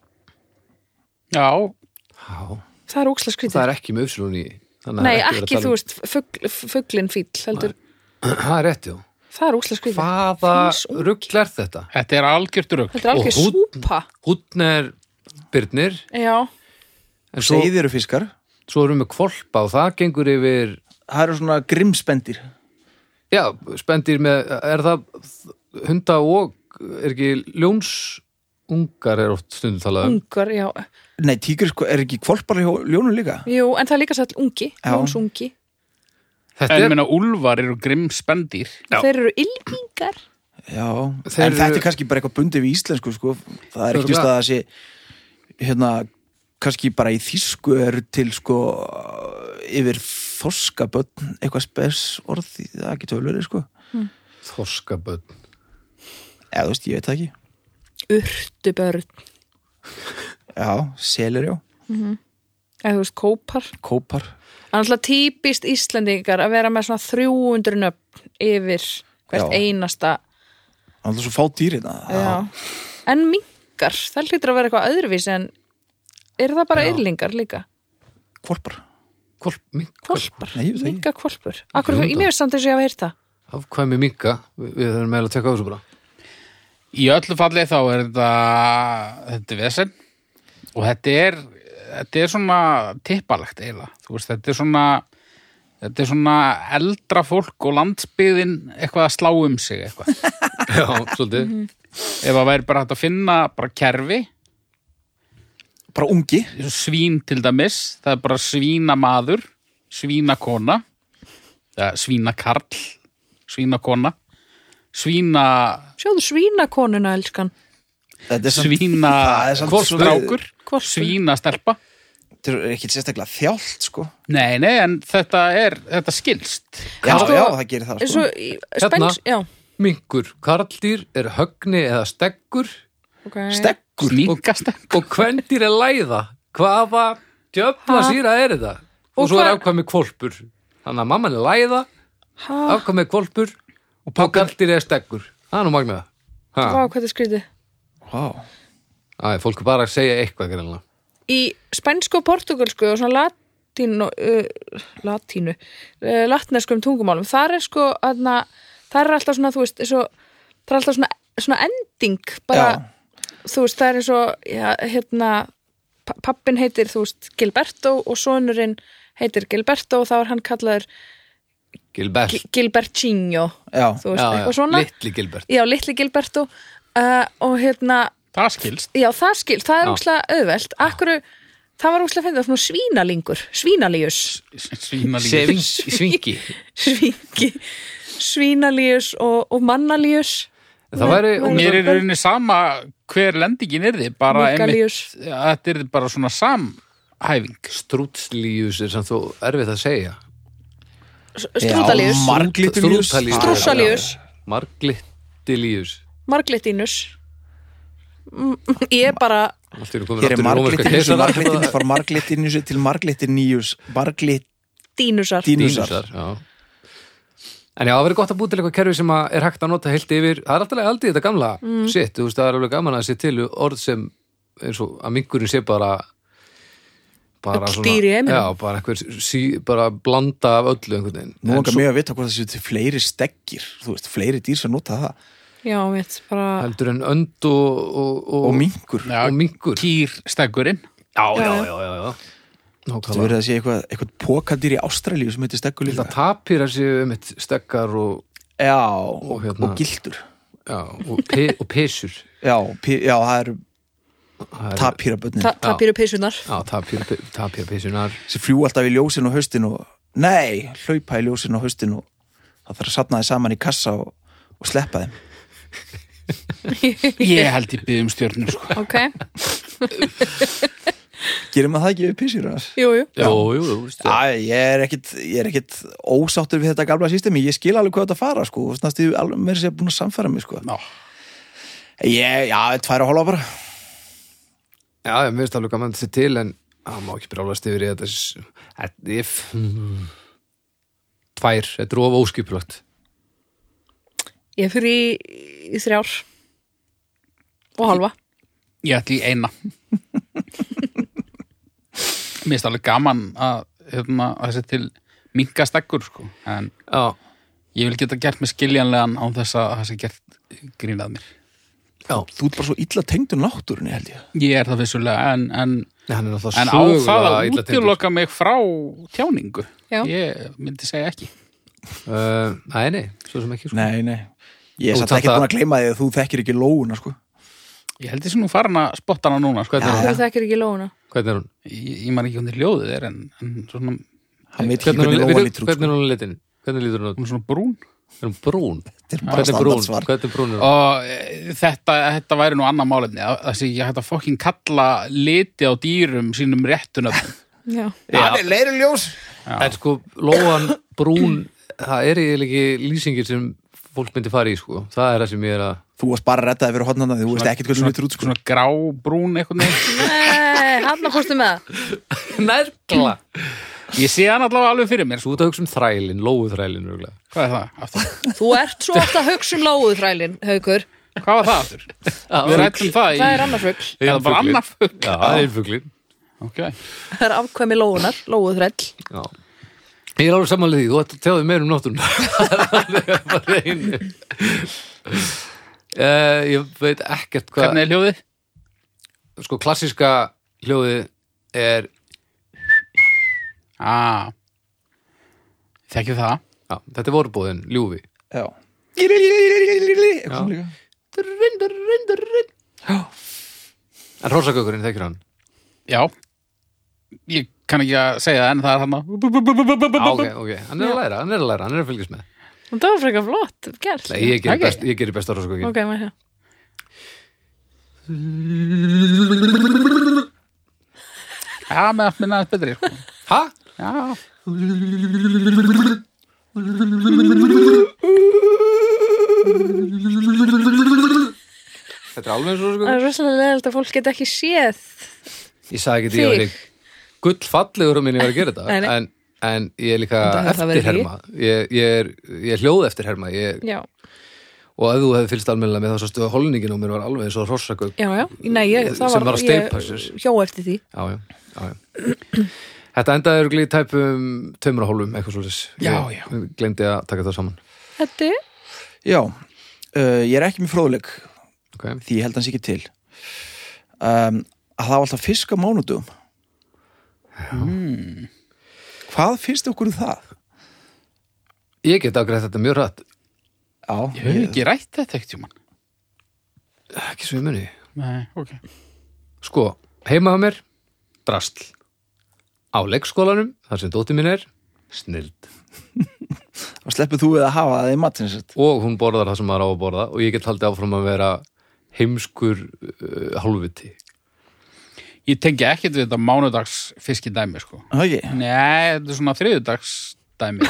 Já, já, Það er ókslega það skrítið er ekki með öfsilun í þannig að Nei, það er ekki, verið að þú tala um- veist, fugl, fuglin fýll heldur, Það er rétt, já það er ókslega skrítið Hvaða Fílsungi. rugl er þetta? þetta er algjört rugg Þetta er algjör Og húnn. súpa Húnn er byrnir Já, en svo, Seiðir eru fiskar, svo erum við kvolpa og það gengur yfir það eru svona grimmspendir Já, spendir með, er það hunda og, er ekki ljónsungar er oft stundum talað um ungar, já Nei, tígur er ekki kvolpar í hjó- ljónum líka Jú, en það er líka sætt ungi, Já. ljónsungi Þetta En er, ég meina, úlfar eru grimm spendir Já. Þeir eru ylfingar Já, Þeir en þetta eru- er kannski bara eitthvað bundið við íslensku sko. það er ekkert Örugglega. víst að það sé hérna, kannski bara í þýsku eru til sko yfir þorskabötn eitthvað spes orð, í- það er ekki tölverið sko þorskaböld eða þú veist, ég veit það ekki Urtubörn, Já, selir já, eða þú veist, kópar kópar Það er alltaf típist Íslendingar að vera með svona 300 nöfn yfir hvert Já. einasta Það er svo fá dýr hérna já. En mingar, það hlýtur að vera eitthvað öðruvísi en er það bara yrlingar líka? Kvolpar Hvolp, mink, hvolp Kvolpar, Nei, ég veit það ekki. minkakvolpur Akkur, Ég veit í mér er samt eins og ég hafa heyrt það Afkvæmi minka, við, við þurfum meðal að tekka á þessu *laughs* bara Í öllu falli þá er þetta þetta er vesen og þetta er, þetta er svona tippalegt eiginlega, þú veist, þetta er svona þetta er svona eldra fólk og landsbyðin eitthvað að slá um sig eitthvað *laughs* Já, svolítið Mhm. ef að væri bara hægt að finna bara kerfi Bara ungi eins og svín til dæmis, það er bara svínamaður, svínakona, eða svínakarl, svínakona, svína, Sjóðu svínakonuna, elskan Þetta er samt- svína, *laughs* Það er samt hvolstrákur, Hvolpur. svínastelpa. Þetta er ekki sérstaklega þjált sko Nei, nei, en þetta er, þetta skilst. Já, Sko- já, það gerir það Svo, sko í- Hérna. spens, já, Minkur, karldýr er högni eða steggur okay. Steggur Sníkastelpa. og kvendýr er læða Hvaða djöfna Ha? síra er þetta? Og, Og svo er hvar- afkvæmi kvolpur Þannig að mamman er læða, Há, afkvæmi er kvolpur og karldýr er steggur Það er nú magnaða Vá, Ha, hvað þetta skrítið Vá. Æ, fólk er bara að segja eitthvað greinlega í spænsku og portugalsku og svona latínu uh, latínu, uh, latneskum tungumálum þar er sko aðna, þar er alltaf svona, þú veist svo, það er alltaf svona, svona ending bara, þú veist, það er eins og já, hérna, pappin heitir þú veist, Gilberto og sonurinn heitir Gilberto og þá er hann kallaður Gilbert, Gi- Gilbertinho Já, þú veist, eitthvað svona litli *laughs* Gilbert já, litli Gilberto uh, og hérna, Það skilst. Já, það skil, það er Já. úrslega auðvelt Akkur, það var úrslega fyndið svona svínalingur, svínalíus Svínalíf. svingi Svingi Svínalíus og, og mannalíus það væri Mér er í rauninni sama hver lendingin er þið, bara Mikalíus. einmitt, þetta er bara svona samhæfing. strútslíus er samt þú erfið að segja Strútalíus Marglitilíus Strútalíus. Strússalíus, marglittilíus marglitínus Mm, Ég er bara allt eru komin Hér er aftur í rómverska marglitinius keisara Marglitinius var marglitinius til marglitinius dínusar Marglitiniusar Dínusar dínusar já. En já, það verður gott að búið til eitthvað kerfi sem að er hægt að nota heilt yfir. Það er alltaf aldrei þetta gamla mm. sitt, þú veist, það er alveg gaman að sé til orð sem eins og að mingurinn sé bara bara Öll dýr í heiminum. já, bara einhver sí, bara blanda af öllu einhvern veginn. Nú En langar svo mig að vita hvort það séu til fleiri steggir, þú veist, fleiri dýr sem nota það Já, mitt, bara heldur en önd og og, og, og minkur. Já, og minkur. Kýr steggurinn. Já, já, já, já, já. Þú Nákvæmlega. verður að sé eitthvað, eitthvað pokadýr í Ástralíu sem heitir steggur líka. Það tapir að séu um eitt steggar og, Já, og, og, hérna- gildur. já, og, pe, og pesur. Já, pí, já, það eru Það er- tapírabötnin ta tapir upp peysunar Já, tapir, tapir pesunar. sem fljú alltaf í ljósin og haustin og nei, hlaupa í ljósin og haustin og það þarf að sapna þeim saman í kassa og, og sleppa þeim. Ég held ég byggði um stjörnur, sko. Ok, Gerir maður það ekki við písir hans? jú, jú Jú, jú, þú veist. það. Já, ég er ekkit, ég er ekkit ósáttur við þetta gamla systemi, ég skil alveg hvað þetta fara sko, og snart ég alveg meira sér búin að samfæra mig sko. Já. Ég, já, tvær og hálfa bara. Já, ég mér finnst alveg gaman þetta til en það má ekki brálast yfir í þetta s- Þetta er f- mm. Tvær, þetta er of óskipulagt Ég fyrir í, í þrjár og halva Ég ætli í eina. Mér finnst alveg gaman að, hérna, að þessi til minga steggur, sko. En Já, ég vil geta gert með skiljanlegan án þess að það sé gert grínað mér. já Þú ert bara svo illa tengdur náttúrunni held ég. Ég er það vissulega, en, en, Nei, Hann er náttúrulega en á það sögulega að illa tengdur. útiloka mig frá tjáningu. Já. Ég myndi segja ekki. Uh, Nei, nei, svo sem ekki sko. Nei, nei. Ég er Þú satt ekki þetta- búin að gleyma því að þú þekkir ekki lóuna sko. Ég held ég sem nú farin að spotta hana núna, sko. Hvernig, er Þú hún? þekkir ekki lóuna Hvernig er hún? Ég, ég man ekki hvernig ljóðið er, en, en svona, Hann veit ekki Hvernig er hún? hvernig lóan Hvernig, lítur út hvernig sko. er hún litin? Hvernig lítur hún út? hún er svona brún. Er hún brún? Þetta er bara Hvernig er brún? standardsvar. Hvernig brún er hún? og e, þetta, þetta væri nú annað málefni að- þessi ég hætti að fokkin kalla liti á dýrum sínum réttuna *laughs* Já, Það er leiru ljós. En sko, lóan brún það er eiginlega ekki lýsingir sem fólk myndi fara í sko. það er það sem ég er að Þú varst bara að redda þig fyrir hotnana því þú veist ekkert hvernig hún lítur út sko. svona grá brún eitthvað *laughs* nei, hann að fórstu með það Nærkla ég sé hann allavega alveg fyrir mér Þú sko. ert að hugsa um þrælin, lóuþrælin örugglega. hvað er það? Aftur? Þú ert svo ofta að hugsa um lóuþrælin, haukur hvað var það *laughs* aftur? við rættum það í Það er annar fugl Það er bara Einfuglinn. annar fugl. Já, það er einfuglin okay. Það er afkvæmi lóunar, lóuþræll Já. Ég er alveg samanlega því, þú ætti að tjáði meir um *laughs* *laughs* náttúrun bara einu uh, Ég veit ekkert hvað hvernig er hljóðið? sko klassíska hljóði er Ah. þekkjum það já, þetta er vorbúðin, ljúfi Já. Eitthvað Já. svona líka. durrin, durrin, durrin. En hrósagökurinn þekkir hann já ég kann ekki að segja það en það er hann Já, að ok, ok, hann er að læra, hann er að læra, hann er að fylgjast með Það var frekar flott, gert Nei, ég gerir Ok. best, ég gerir best á hrósagökinn Ok, maður hér já með allt minna aðeins betri sko. Ha? já Þetta er alveg eins og Það hrósagökinn er rosalega leðilt að fólk get ekki séð Ég sagði ekki því að ég Þig. var gullfallegur um minni að vera að gera Nei, þetta nei. en, en ég er líka Þetta hefði það verið eftirherma ég, ég, er, ég er hljóð eftirherma ég, Já, og og ef þú hefði fylgst almennilega með þá sástu að holningin á mér var alveg eins og hrossagögg Já, já, nei, ég, það Sem var, var að steypa sér. ég hjó eftir því Já, já, já, já. Þetta endaði örgli í tæpum tveimur og hálfum, eitthvað svolítið Já, já. Glendi að taka það saman Þetta er Já. Uh, Ég er ekki með fróðleg okay. því ég held hans ekki til um, að það var alltaf fisk á Hmm. mánudum hvað finnst okkur um það? Ég get afgrætt þetta mjög rætt Já, ég hef ekki rætt þetta ekkert tjúman Ekki svo ég muni nei, ok Sko, heima á mér, drastl Á leikskólanum, þar sem dóttir mín er Snild og sleppið þú við að hafa það í matinn sitt og hún borðar það sem maður á að borða og ég get haldið áfram að vera heimskur uh, hálfviti Ég tengi ekkert við þetta mánudags fiskidæmi, sko. okay. Nei, þetta er svona þriðudags *laughs* dæmi.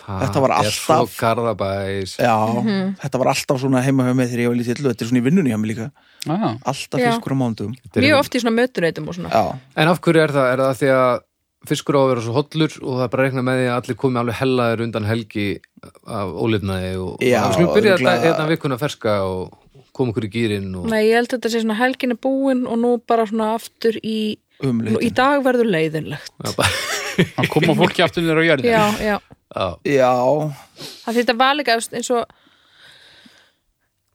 Það Þetta var er svo alltaf- garðabæs Já, Mhm. þetta var alltaf svona heima hjá mig þegar ég var lítið illu, þetta er svona í vinnunni hjá mig líka Ah, alltaf Já. fiskur á mánudum Þetta er- mjög oft í svona mötunautum og svona Já, En af hverju er það? Er það því að fiskur á að vera svo hollur og það er bara að reikna með því að allir komi alveg hellaður undan helgi af ólifnaði og Já, og skulum byrja örugglega- þetta hérna vikuna ferska og koma okkur í gýrin og Nei, ég held að þetta sé svona helgin er búin og nú bara svona aftur í Umleitin. nú- Í dag verður leiðinlegt Já, bara, að koma fólki aftur nýra á jörðin Já, já á, Já, Það þetta var líka þú veist, eins og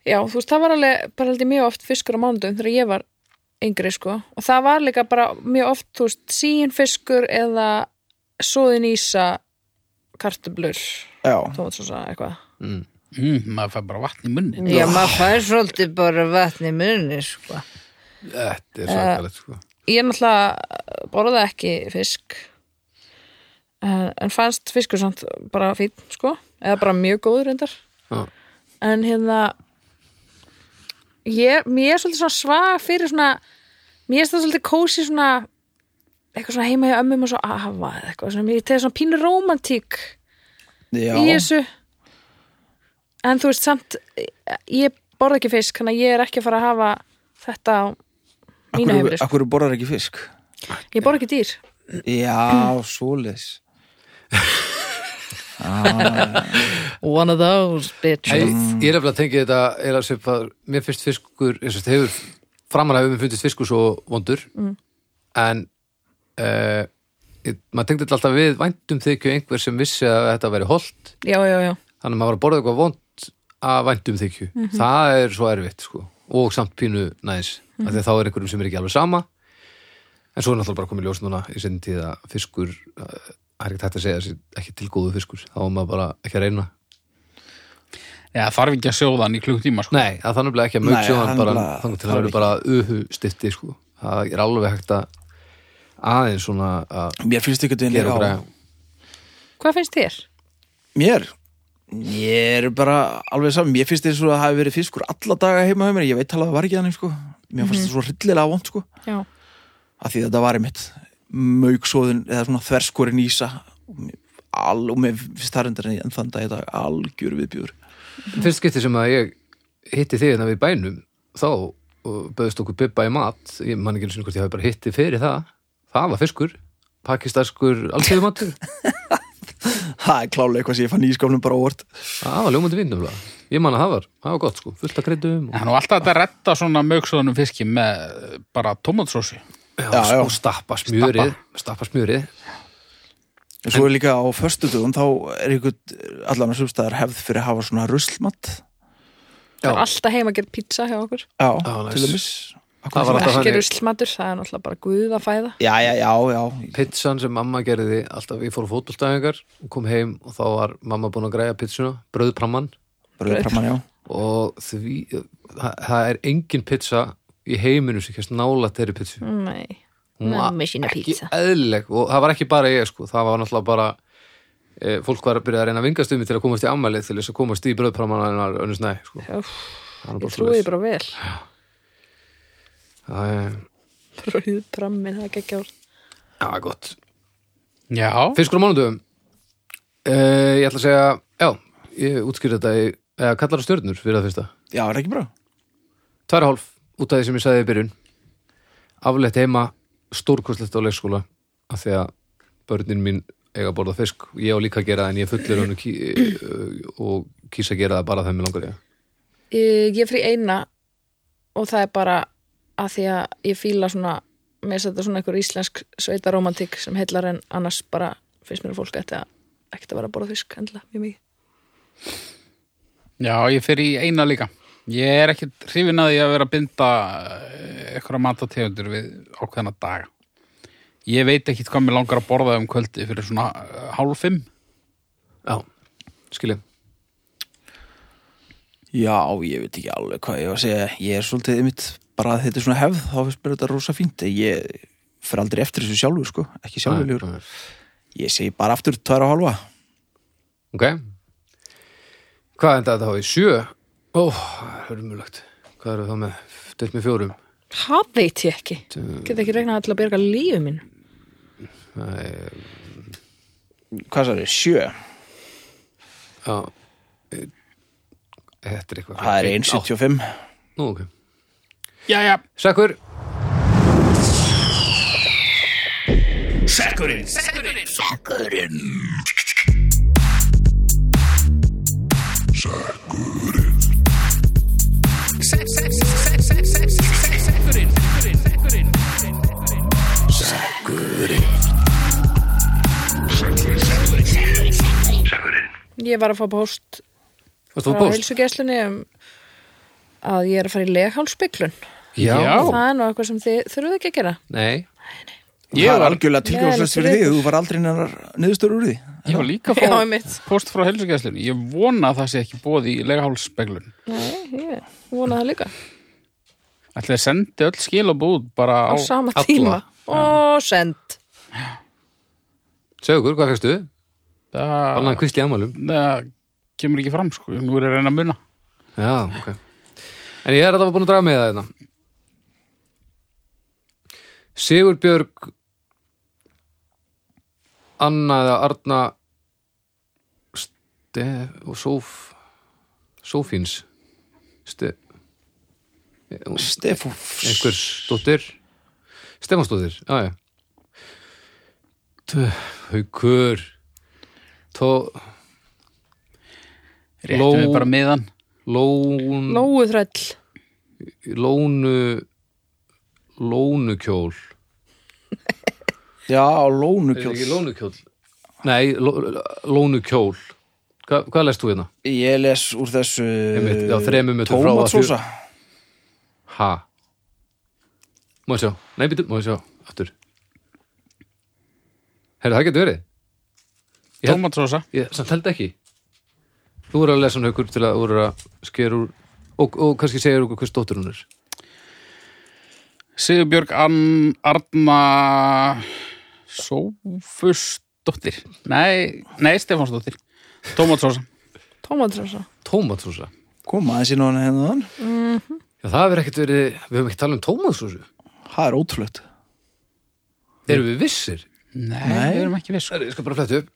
Já, þú veist, það var alveg bara held ég mjög oft fiskur á mánudum þegar ég var yngri, sko og það var líka bara mjög oft, þú veist, síin fiskur eða soðin ísa kartublur já tómatsósa, eitthvað mm, maður fær bara vatn í munni Já, maður fær svolítið bara vatni munni, sko. þetta er svakalegt sko. Ég náttúrulega borða ekki fisk en, en fannst fiskur samt bara fín, sko eða bara mjög góður reyndar Já. en hérna ég, mér er svolítið svona svag fyrir svona mér er það svolítið kósi svona eitthvað svona heima hjá ömmum og svo afa eða eitthvað svona, mér tegði svona pínu rómantík Já, í þessu en þú veist samt ég borða ekki fisk, þannig að ég er ekki að fara að hafa þetta á mínu heimri, sko. akkur borðar ekki fisk ég borða ekki dýr Já, svoleiðis One of those bitches. Eh, Nei, ég er eftir að tengja þetta er að sepa, mér finnst fiskur eins og þetta hefur framalega hefur mér fundist fiskur svo vondur en uh, ég, maður tengdi þetta alltaf við væntum þykju einhver sem vissi að þetta veri holdt já, já, já, þannig að maður var að borða eitthvað vond að væntum þykju það er svo erfitt sko og samt pínu næs mm -hmm. þá er einhverjum sem er ekki alveg sama en svo er náttúrulega bara komið ljós núna í sinni tíð að fiskur eh, það er ekkert hægt að segja þessi ekki tilgóðu fiskur þá er maður bara ekki að reyna Já, þarf ekki að sjóða hann í klukktíma sko. Nei, að þannig bleið ekki að Nei, mjög sjóðan hann bara nefnilega- þannig til það að er vera bara uhu stytti sko. það er alveg hægt að aðeins svona að Mér finnst ekki að gera okkur þetta að hvað finnst þér? Mér? Mér er bara alveg saman, mér finnst eins og að það hafi verið fiskur alla daga heima hjá mér, ég veit alveg að það var ekki þannig sko. Mér Mhm. fannst það svo hryllilega vond sko. já, að því þetta var einmitt mauksóðin eða svona þverskorinn ísa og mér- al, og mér finnst það reyndar en þann dag í dag algjör viðbjör fyrst skipti sem að ég hitti þig hérna við bænum þá og bauðist okkur bibba í mat ég man ekki einu sinni hvort ég hafi bara hitti fyrir það það var fiskur, pakistanskur allsöðumatur, það er klálega eitthvað sem ég fann í skálnum bara óvart það var ljómandi vinnum ég man að það var, það var gott sko, fullt af kryddum og, Hann var alltaf hægt að retta svona mögsóðunum fiski með eh, bara tomatsósi. já, já, já. og stappa smjörið stappa smjörið en svo er líka á föstudugum þá er einhvern allan að sumstæðar hefð fyrir að hafa svona ruslmatt það er Já. alltaf heima að gera pizza hjá okkur já, nice. til dæmis Það var alltaf ekki þannig. ruslmatur, það er náttúrulega bara guð að fæða já, já, já, já, pizzan sem mamma gerði alltaf ég fór á fótbolstæðingar og kom heim og þá var mamma búin að græja pizzuna bröðpramman bara framan, já og því það, það er engin pizza í heiminu sem kemst nála þeirri pizzu nei, Hún var Mamma sína ekki pizza. eðlileg og það var ekki bara ég sko, það var náttúrulega bara e, fólk var að byrja að reyna að vingast um mig til að komast í ammælið til þess að komast í bröðpramman en var önnur snæ sko. Úff, Það var bara ég trúi svoleiðis. bara vel það er, bröðprammi, það er ekki árt já, það er gott Já, Fiskur á mánudöfum e, ég ætla að segja já, ég útskýrði þetta í, eða kallar það stjörnur fyrir það fyrsta já, er ekki bra tvær og hálf út af því sem ég sagði í byrjun afleitt heima stórkostlegt á leikskóla af því að börnin mín eiga að borða fisk ég á líka að gera það en ég er fullur hann og, ký, og kýsa að gera það bara þegar mér langar ég Ég, ég frí eina og það er bara að því að ég fíla svona mér setja svona einhver íslensk sveitaromantík sem heillar en annars bara finnst mér að fólk ætti að ekkert að vera að borða fisk endla mjög mikið. já, ég fer í eina líka. Ég er ekki hrifin að því að vera að binda eh, einhverja matategundur við ákveðna daga. Ég veit ekki hvað mér langar að borða um kvöldi fyrir svona eh, hálf fimm. já, skilja já, ég veit ekki alveg hvað ég var að segja ég er svolítið einmitt bara að þetta er svona hefð þá finnst mér þetta rosa fínt ég fer aldrei eftir þessu sjálfur sko ekki sjálfurlegur Ég segi bara aftur tværa og halva. ok hvað enda þetta hafi? Sjö? ó, það er umulagt hvað eru það með? Deilt með fjórum Það veit ég ekki. Get ekki regnað til að berga lífið mín. Nei, Hvað sagði? Sjö. já Eh, þetta er eitthvað Það er Einn, átt. 1,75. nú ok Já, já, Sækur Ég var að fá post Varst þú frá á bóst? heilsugeslunni um að ég er að fara í leghálsbygglun Já. Já. Það er nú eitthvað sem þið þurfuð ekki að gera Nei. Ég það er var- algjörlega Ég tilgangslöst er fyrir því þú var aldrei neinar niðurstöru úr því Ég var líka að *laughs* Já, fá einmitt. post frá helsugæslinu. Ég vona að það sé ekki bóð í legahálsspeglun. Nei, ég vona það líka Ætli þeir sendi öll skilabúð bara Á á... sama alla. tíma Og send Sögur, hvað fegstu? Það Annan kvistli amálum. það kemur ekki fram, sko. Nú er ég að reyna að muna. Já, ok. En ég er alltaf búin að draga með það hérna. þetta. Sigurbjörg Anna eða Arna Stef og Sóf Sófíns Stef Stefú einhvers dóttir Stefansdóttir, já já Tö- Haukur Tó Réttum Ló- við bara miðan. Lón Lóu þræll Lónu Lónukjól Já, á Er lónukjól ekki lónukjól? Nei, ló- lónukjól Hva, Hvað lest þú hérna? Ég les úr þessu Einmitt, já, þremur metum frá að fjör- Tómatsósa Ha? Má ég sjá? Nei, býtum, má ég sjá? Aftur Herra, það getur verið Ég held- Tómatsósa. Ég samt held ekki Þú voru að lesa hann haukur til að voru að sker úr og, og kannski segir okkur hvers dóttur hún er Sigurbjörg Ann Arna Sófusdóttir. Nei, nei, Stefánsdóttir. Tómatsósa. Tómatrósa Tómatsósa Koma aðeins inn á hann hérna þann Já, það hefur ekkert verið, við höfum ekki talað um tómatsósu Það er ótrúlegt Erum við vissir? Nei, Nei. við erum ekki viss. Það er, ég skal bara fletta upp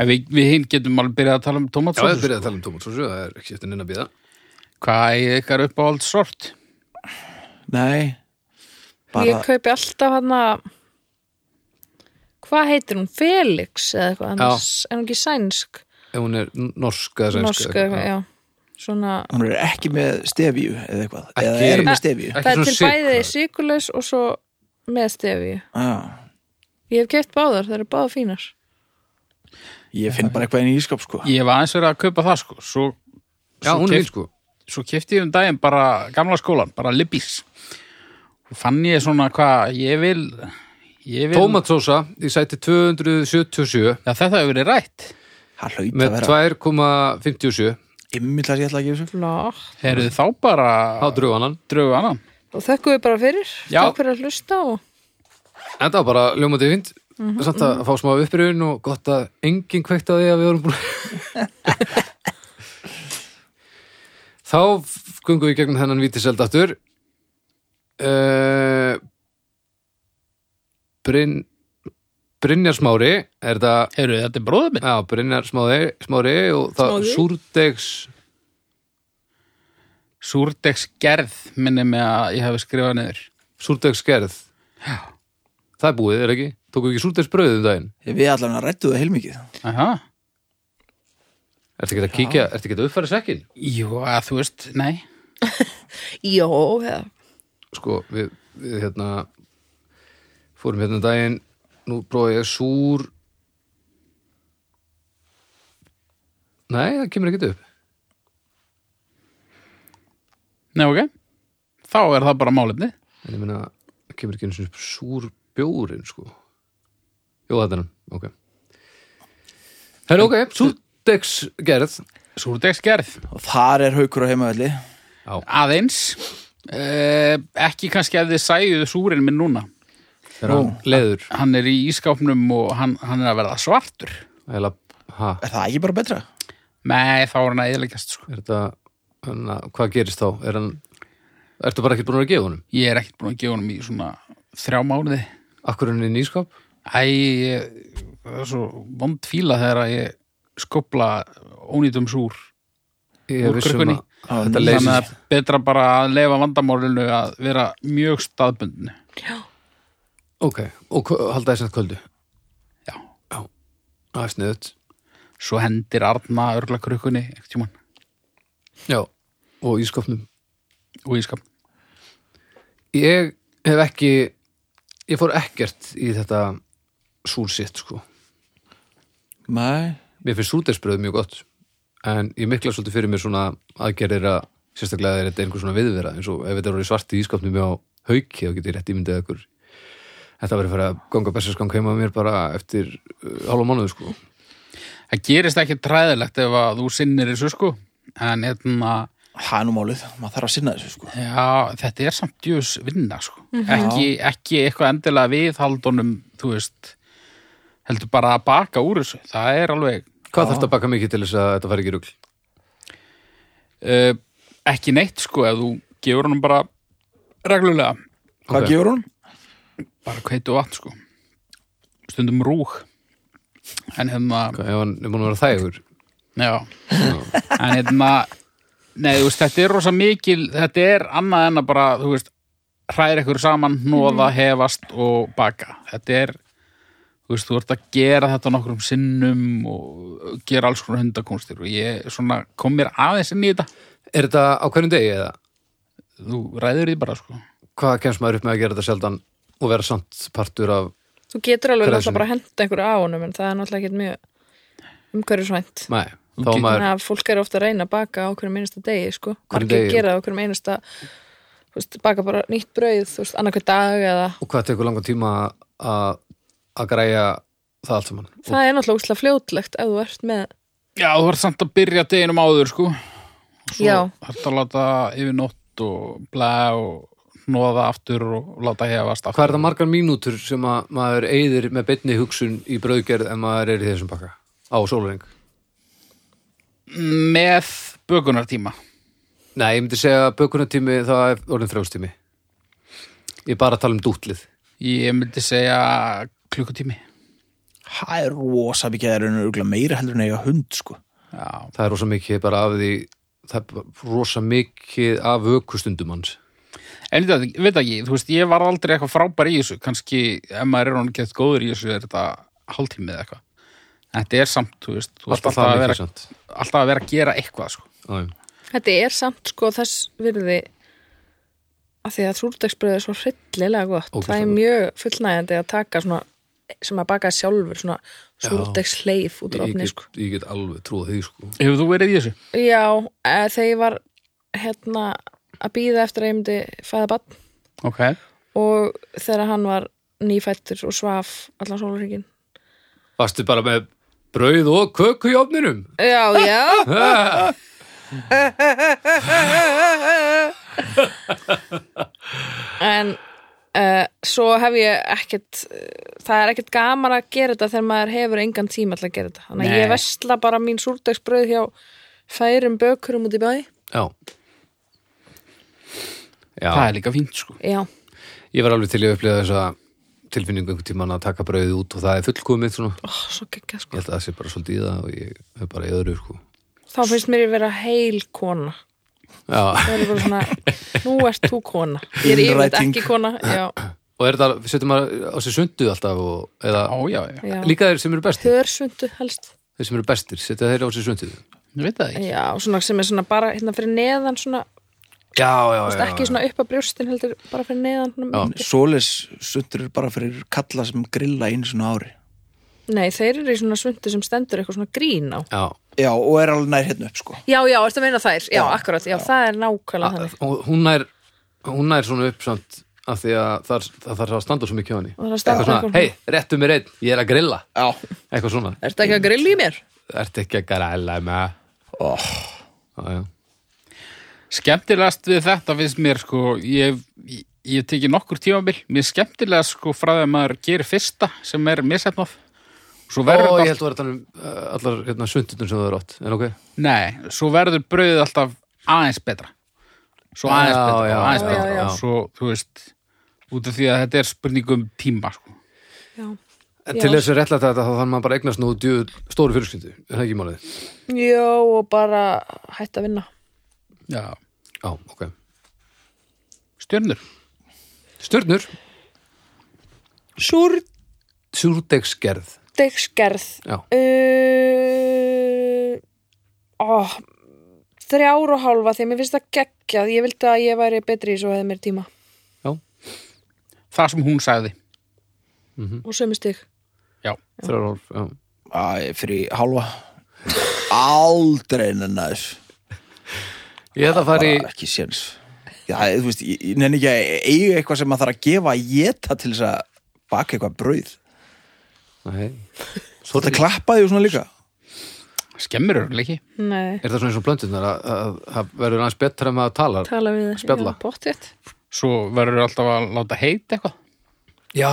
En Við, við hinn getum alveg byrjað að tala Já, um við tómatsósu. byrjaði að tala um tómatsósu, það er ekki eftir neina að býða Hvað er ykkar uppáhald sort? Nei Ég Bara kaupi alltaf hann að Hvað heitir hún? Felix eða eitthvað annars Er hún ekki sænsk? Ef hún er n- norsk eða sænsk Norsk eða eitthvað, já Svona Hún er ekki með stefíu eða eitthvað Eða Ekki- er með stefíu Ekki Það er svona til sykur, bæði eða? sykulegs og svo með stefi Já Ég hef keft báðar, það eru báðar fínar Ég finn bara eitthvað inn í ískap sko Ég var aðeins verið að kaupa það sko Svo, Já, hún er fín keypt- sko svo kefti ég um daginn bara gamla skólan, bara Libby's og fann ég svona hvað ég vil, ég vil Tómatsósa í sæti 277 Já, þetta hefur verið rætt Það hlaut að með vera 2,57 Ymmil að ég ætla að gefa þessu Flott Heruð þá bara á drugannan drögu annan Og þökkum við bara fyrir Já. Takk fyrir að hlusta og Þetta var bara ljómandi fínt Mhm. samt að fá smá uppröðun og gott að enginn kveikt að því að við vorum búin *laughs* Þá f- gungum við í gegnum þennan vítiseld aftur uh, Bryn Brynjar Smári er þetta Heruð þetta er bróður minn Já, Brynjar Smári, Smári og það Smári. Súrdegs Súrdegs gerð minni með að ég hefði skrifað niður Súrdegsgerð Það er búið, er ekki? Tóku ekki Súrdegsbröðið um daginn? Við allan að rættu það heilmikið Aha. Ertu ekki að kíkja, ertu ekki að uppfæra sekkin? Jú, að þú veist, nei Jó, eða sko, við, við hérna fórum hérna um daginn nú prófaði ég súr nei, það kemur ekkert upp Nei, ok Þá er það bara málefni en ég meina, það kemur ekki einu sinni upp súr bjórin, sko jú, þetta er hann, ok það er ok, súrdegs gerð Súrdegs gerð Og þar er haukur á heimavelli aðeins eh, ekki kannski að þið sæjuð súrin minn núna er hann leður hann er í ískápnum og hann, hann er að verða svartur Æla, ha, Er það ekki bara betra? nei þá er hann að eðileggjast sko. er þetta hana, hvað gerist þá, er hann ertu bara ekki búin að gefa honum ég er ekkert búin að gefa honum í svona þrjá mánuði akkur hann er nýskap æ, ég, það er svo vond fíla þegar að ég skopla ónýtum súr ég Úr er vissum krukkunni. að þetta þannig leysist að betra bara að lefa vandamálinu að vera mjög staðbundinu ok, og hva- halda þess að kvöldu Já. já, það er sniðut Svo hendir Arna örgla krukkunni ekkert tjúman já, og ískopnum og ég skap. ég hef ekki ég fór ekkert í þetta súlsitt sko Nei, mér finnst súldersbröð mjög gott en ég mikla svolítið fyrir mér svona aðgerðir að sérstaklega er þetta einhver svona viðvera eins og ef þetta er orðið svart í ískapnum á hauki þá getur ég rétt ímyndið ykkur þetta verið fyrir að ganga berserskang heima með mér bara eftir uh, hálfa mánuðu sko Það gerist ekki træðilegt ef að þú sinnir þessu sko. En hérna, það er nú málið, maður þarf að sinna þessu sko. já, þetta er samt djús vinna sko. ekki, ekki eitthvað endilega viðhaldunum, þú veist, heldur bara að baka úr þessu. Það er alveg hvað þarf að baka mikið til þess að þetta fari ekki í rugl uh, ekki neitt sko ef þú gefur honum bara reglulega Hvað Ok. gefur hún? bara kveitu vatn sko stundum rúk en hérna Hvað, ef hann er búin að vera þægur já, en hérna nei þú veist þetta er rosa mikil þetta er annað en að bara þú veist hræðir ykkur saman, nóða, hefast og baka þetta er þú veist þú ert að gera þetta nokkrum sinnum og gera alls konar hundakúnstir og ég svona kom mér aðeins inn í þetta er þetta á hverjum degi eða þú ræður því bara sko hvað kemst maður upp með að gera þetta sjaldan og vera samt partur af Þú getur alveg Hverju náttúrulega bara að henda einhverju á honum en það er náttúrulega ekkert mjög umhverjusvænt. nei, þá Ok. okay. maður Þannig að fólk er ofta að reyna að baka á hverjum einasta degi, sko. Hverjum Margir degi? gera það á hverjum einasta, þú veist, baka bara nýtt brauð, þú veist, annarkvæð dag eða... og hvað tekur langan tíma að að græja það allt saman og Það er náttúrulega ógeðslega fljótlegt ef þú ert með... Já, þú ert samt að byrja deginum áður, sko. Og Svo Já. ert að láta yfir nótt og blæ og hnoða aftur og láta hefast aftur. hvað er það margar mínútur sem að maður eyðir með beinni hugsun í brauðgerð en maður er í þessum pakka á sólurring Með bökunartíma. nei, ég myndi segja að bökunartími það er orðin frjóðstími ég er bara að tala um dútlið Ég myndi segja klukkutími. Það er rosa mikið, það er raunverulega meira heldur en að eiga hund sko. Já, það er rosa mikið bara af því það er bara rosa mikið af vökustundum hans en ég veit- veit ekki, þú veist, ég var aldrei eitthvað frábær í þessu. Kannski, ef maður er hann gett góður í þessu, er þetta hálftímið eða eitthvað. En Þetta er samt, þú veist, þú veist alltaf alltaf, það að mikið vera, sant alltaf að vera að gera eitthvað, sko. Já, já. Þetta er samt, sko, þess virði að því að súldegsbröð er svo hryllilega gott. Ógeðslega það er gott. mjög fullnægjandi að taka svona, sem að baka sjálfur, svona súldegshleif út úr ég ofni, sko. get, ég get alveg trúið því sko Hefur þú verið í þessu? Já, eh, þegar ég var hérna að býða eftir að ég myndi fæða bann Ok. og þegar hann var nýfættur og svaf allan sólurringin. Varstu bara með brauð og köku í ofninum? Já, já. en uh, svo hef ég ekkert, eh, það er ekkert gaman að gera þetta þegar maður hefur engan tíma til að gera þetta. Þannig að Nei. ég vesla bara mín súrdagsbröð hjá færum bökurum út í bæ. Já. Já, Það er líka fínt, sko. Já, ég var alveg til í að upplifa þessa tilfinningu einhvern tímann að taka brauðið út og það er fullkomið svona. Ó, svo gekkja Ég sko. held að það sé bara svolítið í það og ég er bara í öðru sko. Þá finnst mér ég vera heil kona. Já, Það er bara svona, nú ert þú kona. Ég er yfirleitt Innræting. ekki kona. Já, og er þetta, setur maður á sig sundu alltaf og, eða Já, já, já. já. líka þeir sem eru bestir, Hörsundu helst. þeir sem eru bestir, setja þeir á sig sundu. Ég veit það ekki. Já, svona sem er svona bara hérna fyrir neðan svona, Já, já, veist, ekki svona upp að brjóstin heldur bara fyrir neðan svona, Já. Svoleis sundur er bara fyrir kalla sem grilla einu svona ári Nei, þeir eru í svona svundu sem stendur eitthvað svona grín á Já, Já, og er alveg nær hérna upp sko Já, já, ertu að meina þær? Já, akkurat, já, það er nákvæmlega þannig og hún er, hún er svona uppsamt af því að það, það þarf að standa svo mikið á henni. Það þarf að standa Eitthvað eitthvað. svona, hei, réttu mér einn, ég er að grilla, Já, eitthvað svona. Ertu ekki að grilla í mér? Ertu ekki að græla með oh. já, Skemmtilegast við þetta finnst mér sko, ég, ég, ég teki nokkur tímabil, mér er skemmtilegast sko frá því að maður gerir fyrsta sem er missetnáð svo já. verður, Ó, Ó, ég held að vera þannig uh, allar hérna, sundunum sem það er átt en ok, nei, svo verður brauðið alltaf aðeins betra svo aðeins Já, já, betra, og aðeins já, betra já. og svo, þú veist, út af því að þetta er spurningum tíma sko. Já, en Já. til þess að réttlega þetta þá þannig maður bara að eignast nú djöð stóru fjölskyldu er það ekki málið? já og bara hætt að vinna Já, Já, ok stjörnur Stjörnur Súrdegsgerð Súrdegsgerð Já. uh, ó, Þrjár og hálfa því mér finnst það geggjað Ég vildi að ég væri betri í svo hefði mér tíma Það sem hún sagði Mhm. Og sömu stig Já, Þrjárhólf, já Æ, fyrir hálfa Aldrei nennið Ég hefði að fara í, Bara ekki séns Já, þú veist, ég, ég nenni ekki að eiga eitthvað sem maður þarf að gefa að geta til þess að baka eitthvað brauð nei, Þú ert að klappa því og svona líka skemmur örleiki Nei, er það svona eins og blöndunar að- að það verður aðeins betra með að tala tala við Spjalla. Bóttið Svo verður alltaf að láta heita eitthvað Já,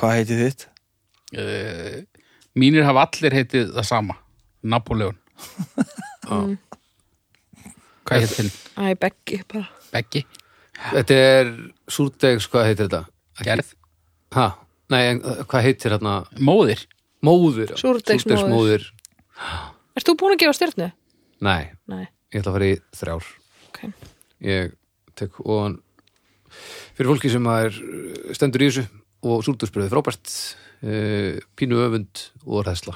Hvað heiti þitt? uh, Mínir hafa allir heitið það sama *laughs* Napoleon Mm. Hvað heitir þinn? Æ, beggi bara Beggi? þetta er Súrdegs, hvað heitir þetta? Gerð? Ha? Nei, en, uh, hvað heitir hérna? Móðir? Móður já. Súrdegsmóðir. Súrdegsmóðir. Ert þú búin að gefa stjörnu? Nei, Nei, ég ætla að fara í þrjár ok ég tek ofan fyrir fólki sem er stendur í þessu og súrdursbröði frábært eh, pínu öfund og ræðsla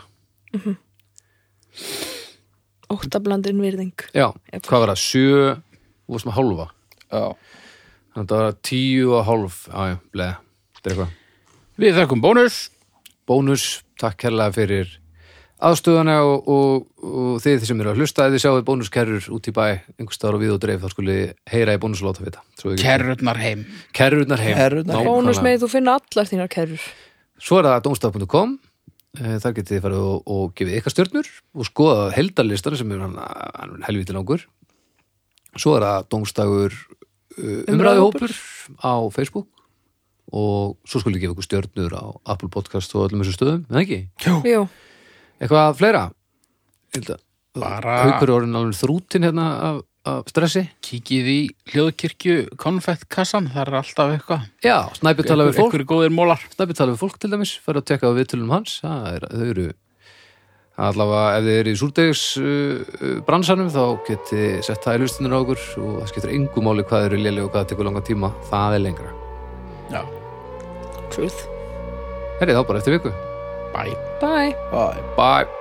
Óttablandin virðing já, hvað var það, sjö og sem að hálfa, Já þannig að það var tíu og hálf já, já, bleða, þetta er eitthvað Við þökkum bónus bónus, takk herrlega fyrir aðstöðana og, og, og þið sem eru að hlusta, ef þið sjáu bónuskerrur út í bæ, einhvers staðar á við og dreif þá skuli heyra í bónus og láta vita Svo ekki- Kerrurnar heim kerrurnar heim Kerrurnar heim. Nákvæmlega. Bónus með þú finna allar þínar kerrur Svo er það domstaf.com Eh, Þar getið þið farið og, og gefið ykkar stjörnur og skoða heldarlistan sem er hann, hann er helviti langur Svo er það domstafur uh, umræðuhópur á Facebook og svo skulle gefa ykkur stjörnur á Apple Podcast og öllum þessum stöðum, en ekki? Jú, Eitthvað fleira? Hilda, Bara haukur er orðin alveg þrútin hérna af, af stressi kíkið í hljóðkirkju konfettkassan, það er alltaf eitthvað Já, snæpi tala við fólk Ykkur góðir mólar Snæpi tala við fólk til dæmis, fyrir að tekka á viðtölum hans það er, þau eru allavega ef þið eru í súrdegs uh, uh, bransanum þá geti sett það í lustinur á okkur og það skiptir engu máli hvað eru lélega og hvað það tekur langan tíma, það er lengra Já, truth Herri þá bara eftir viku bæ Bye Æ, Bye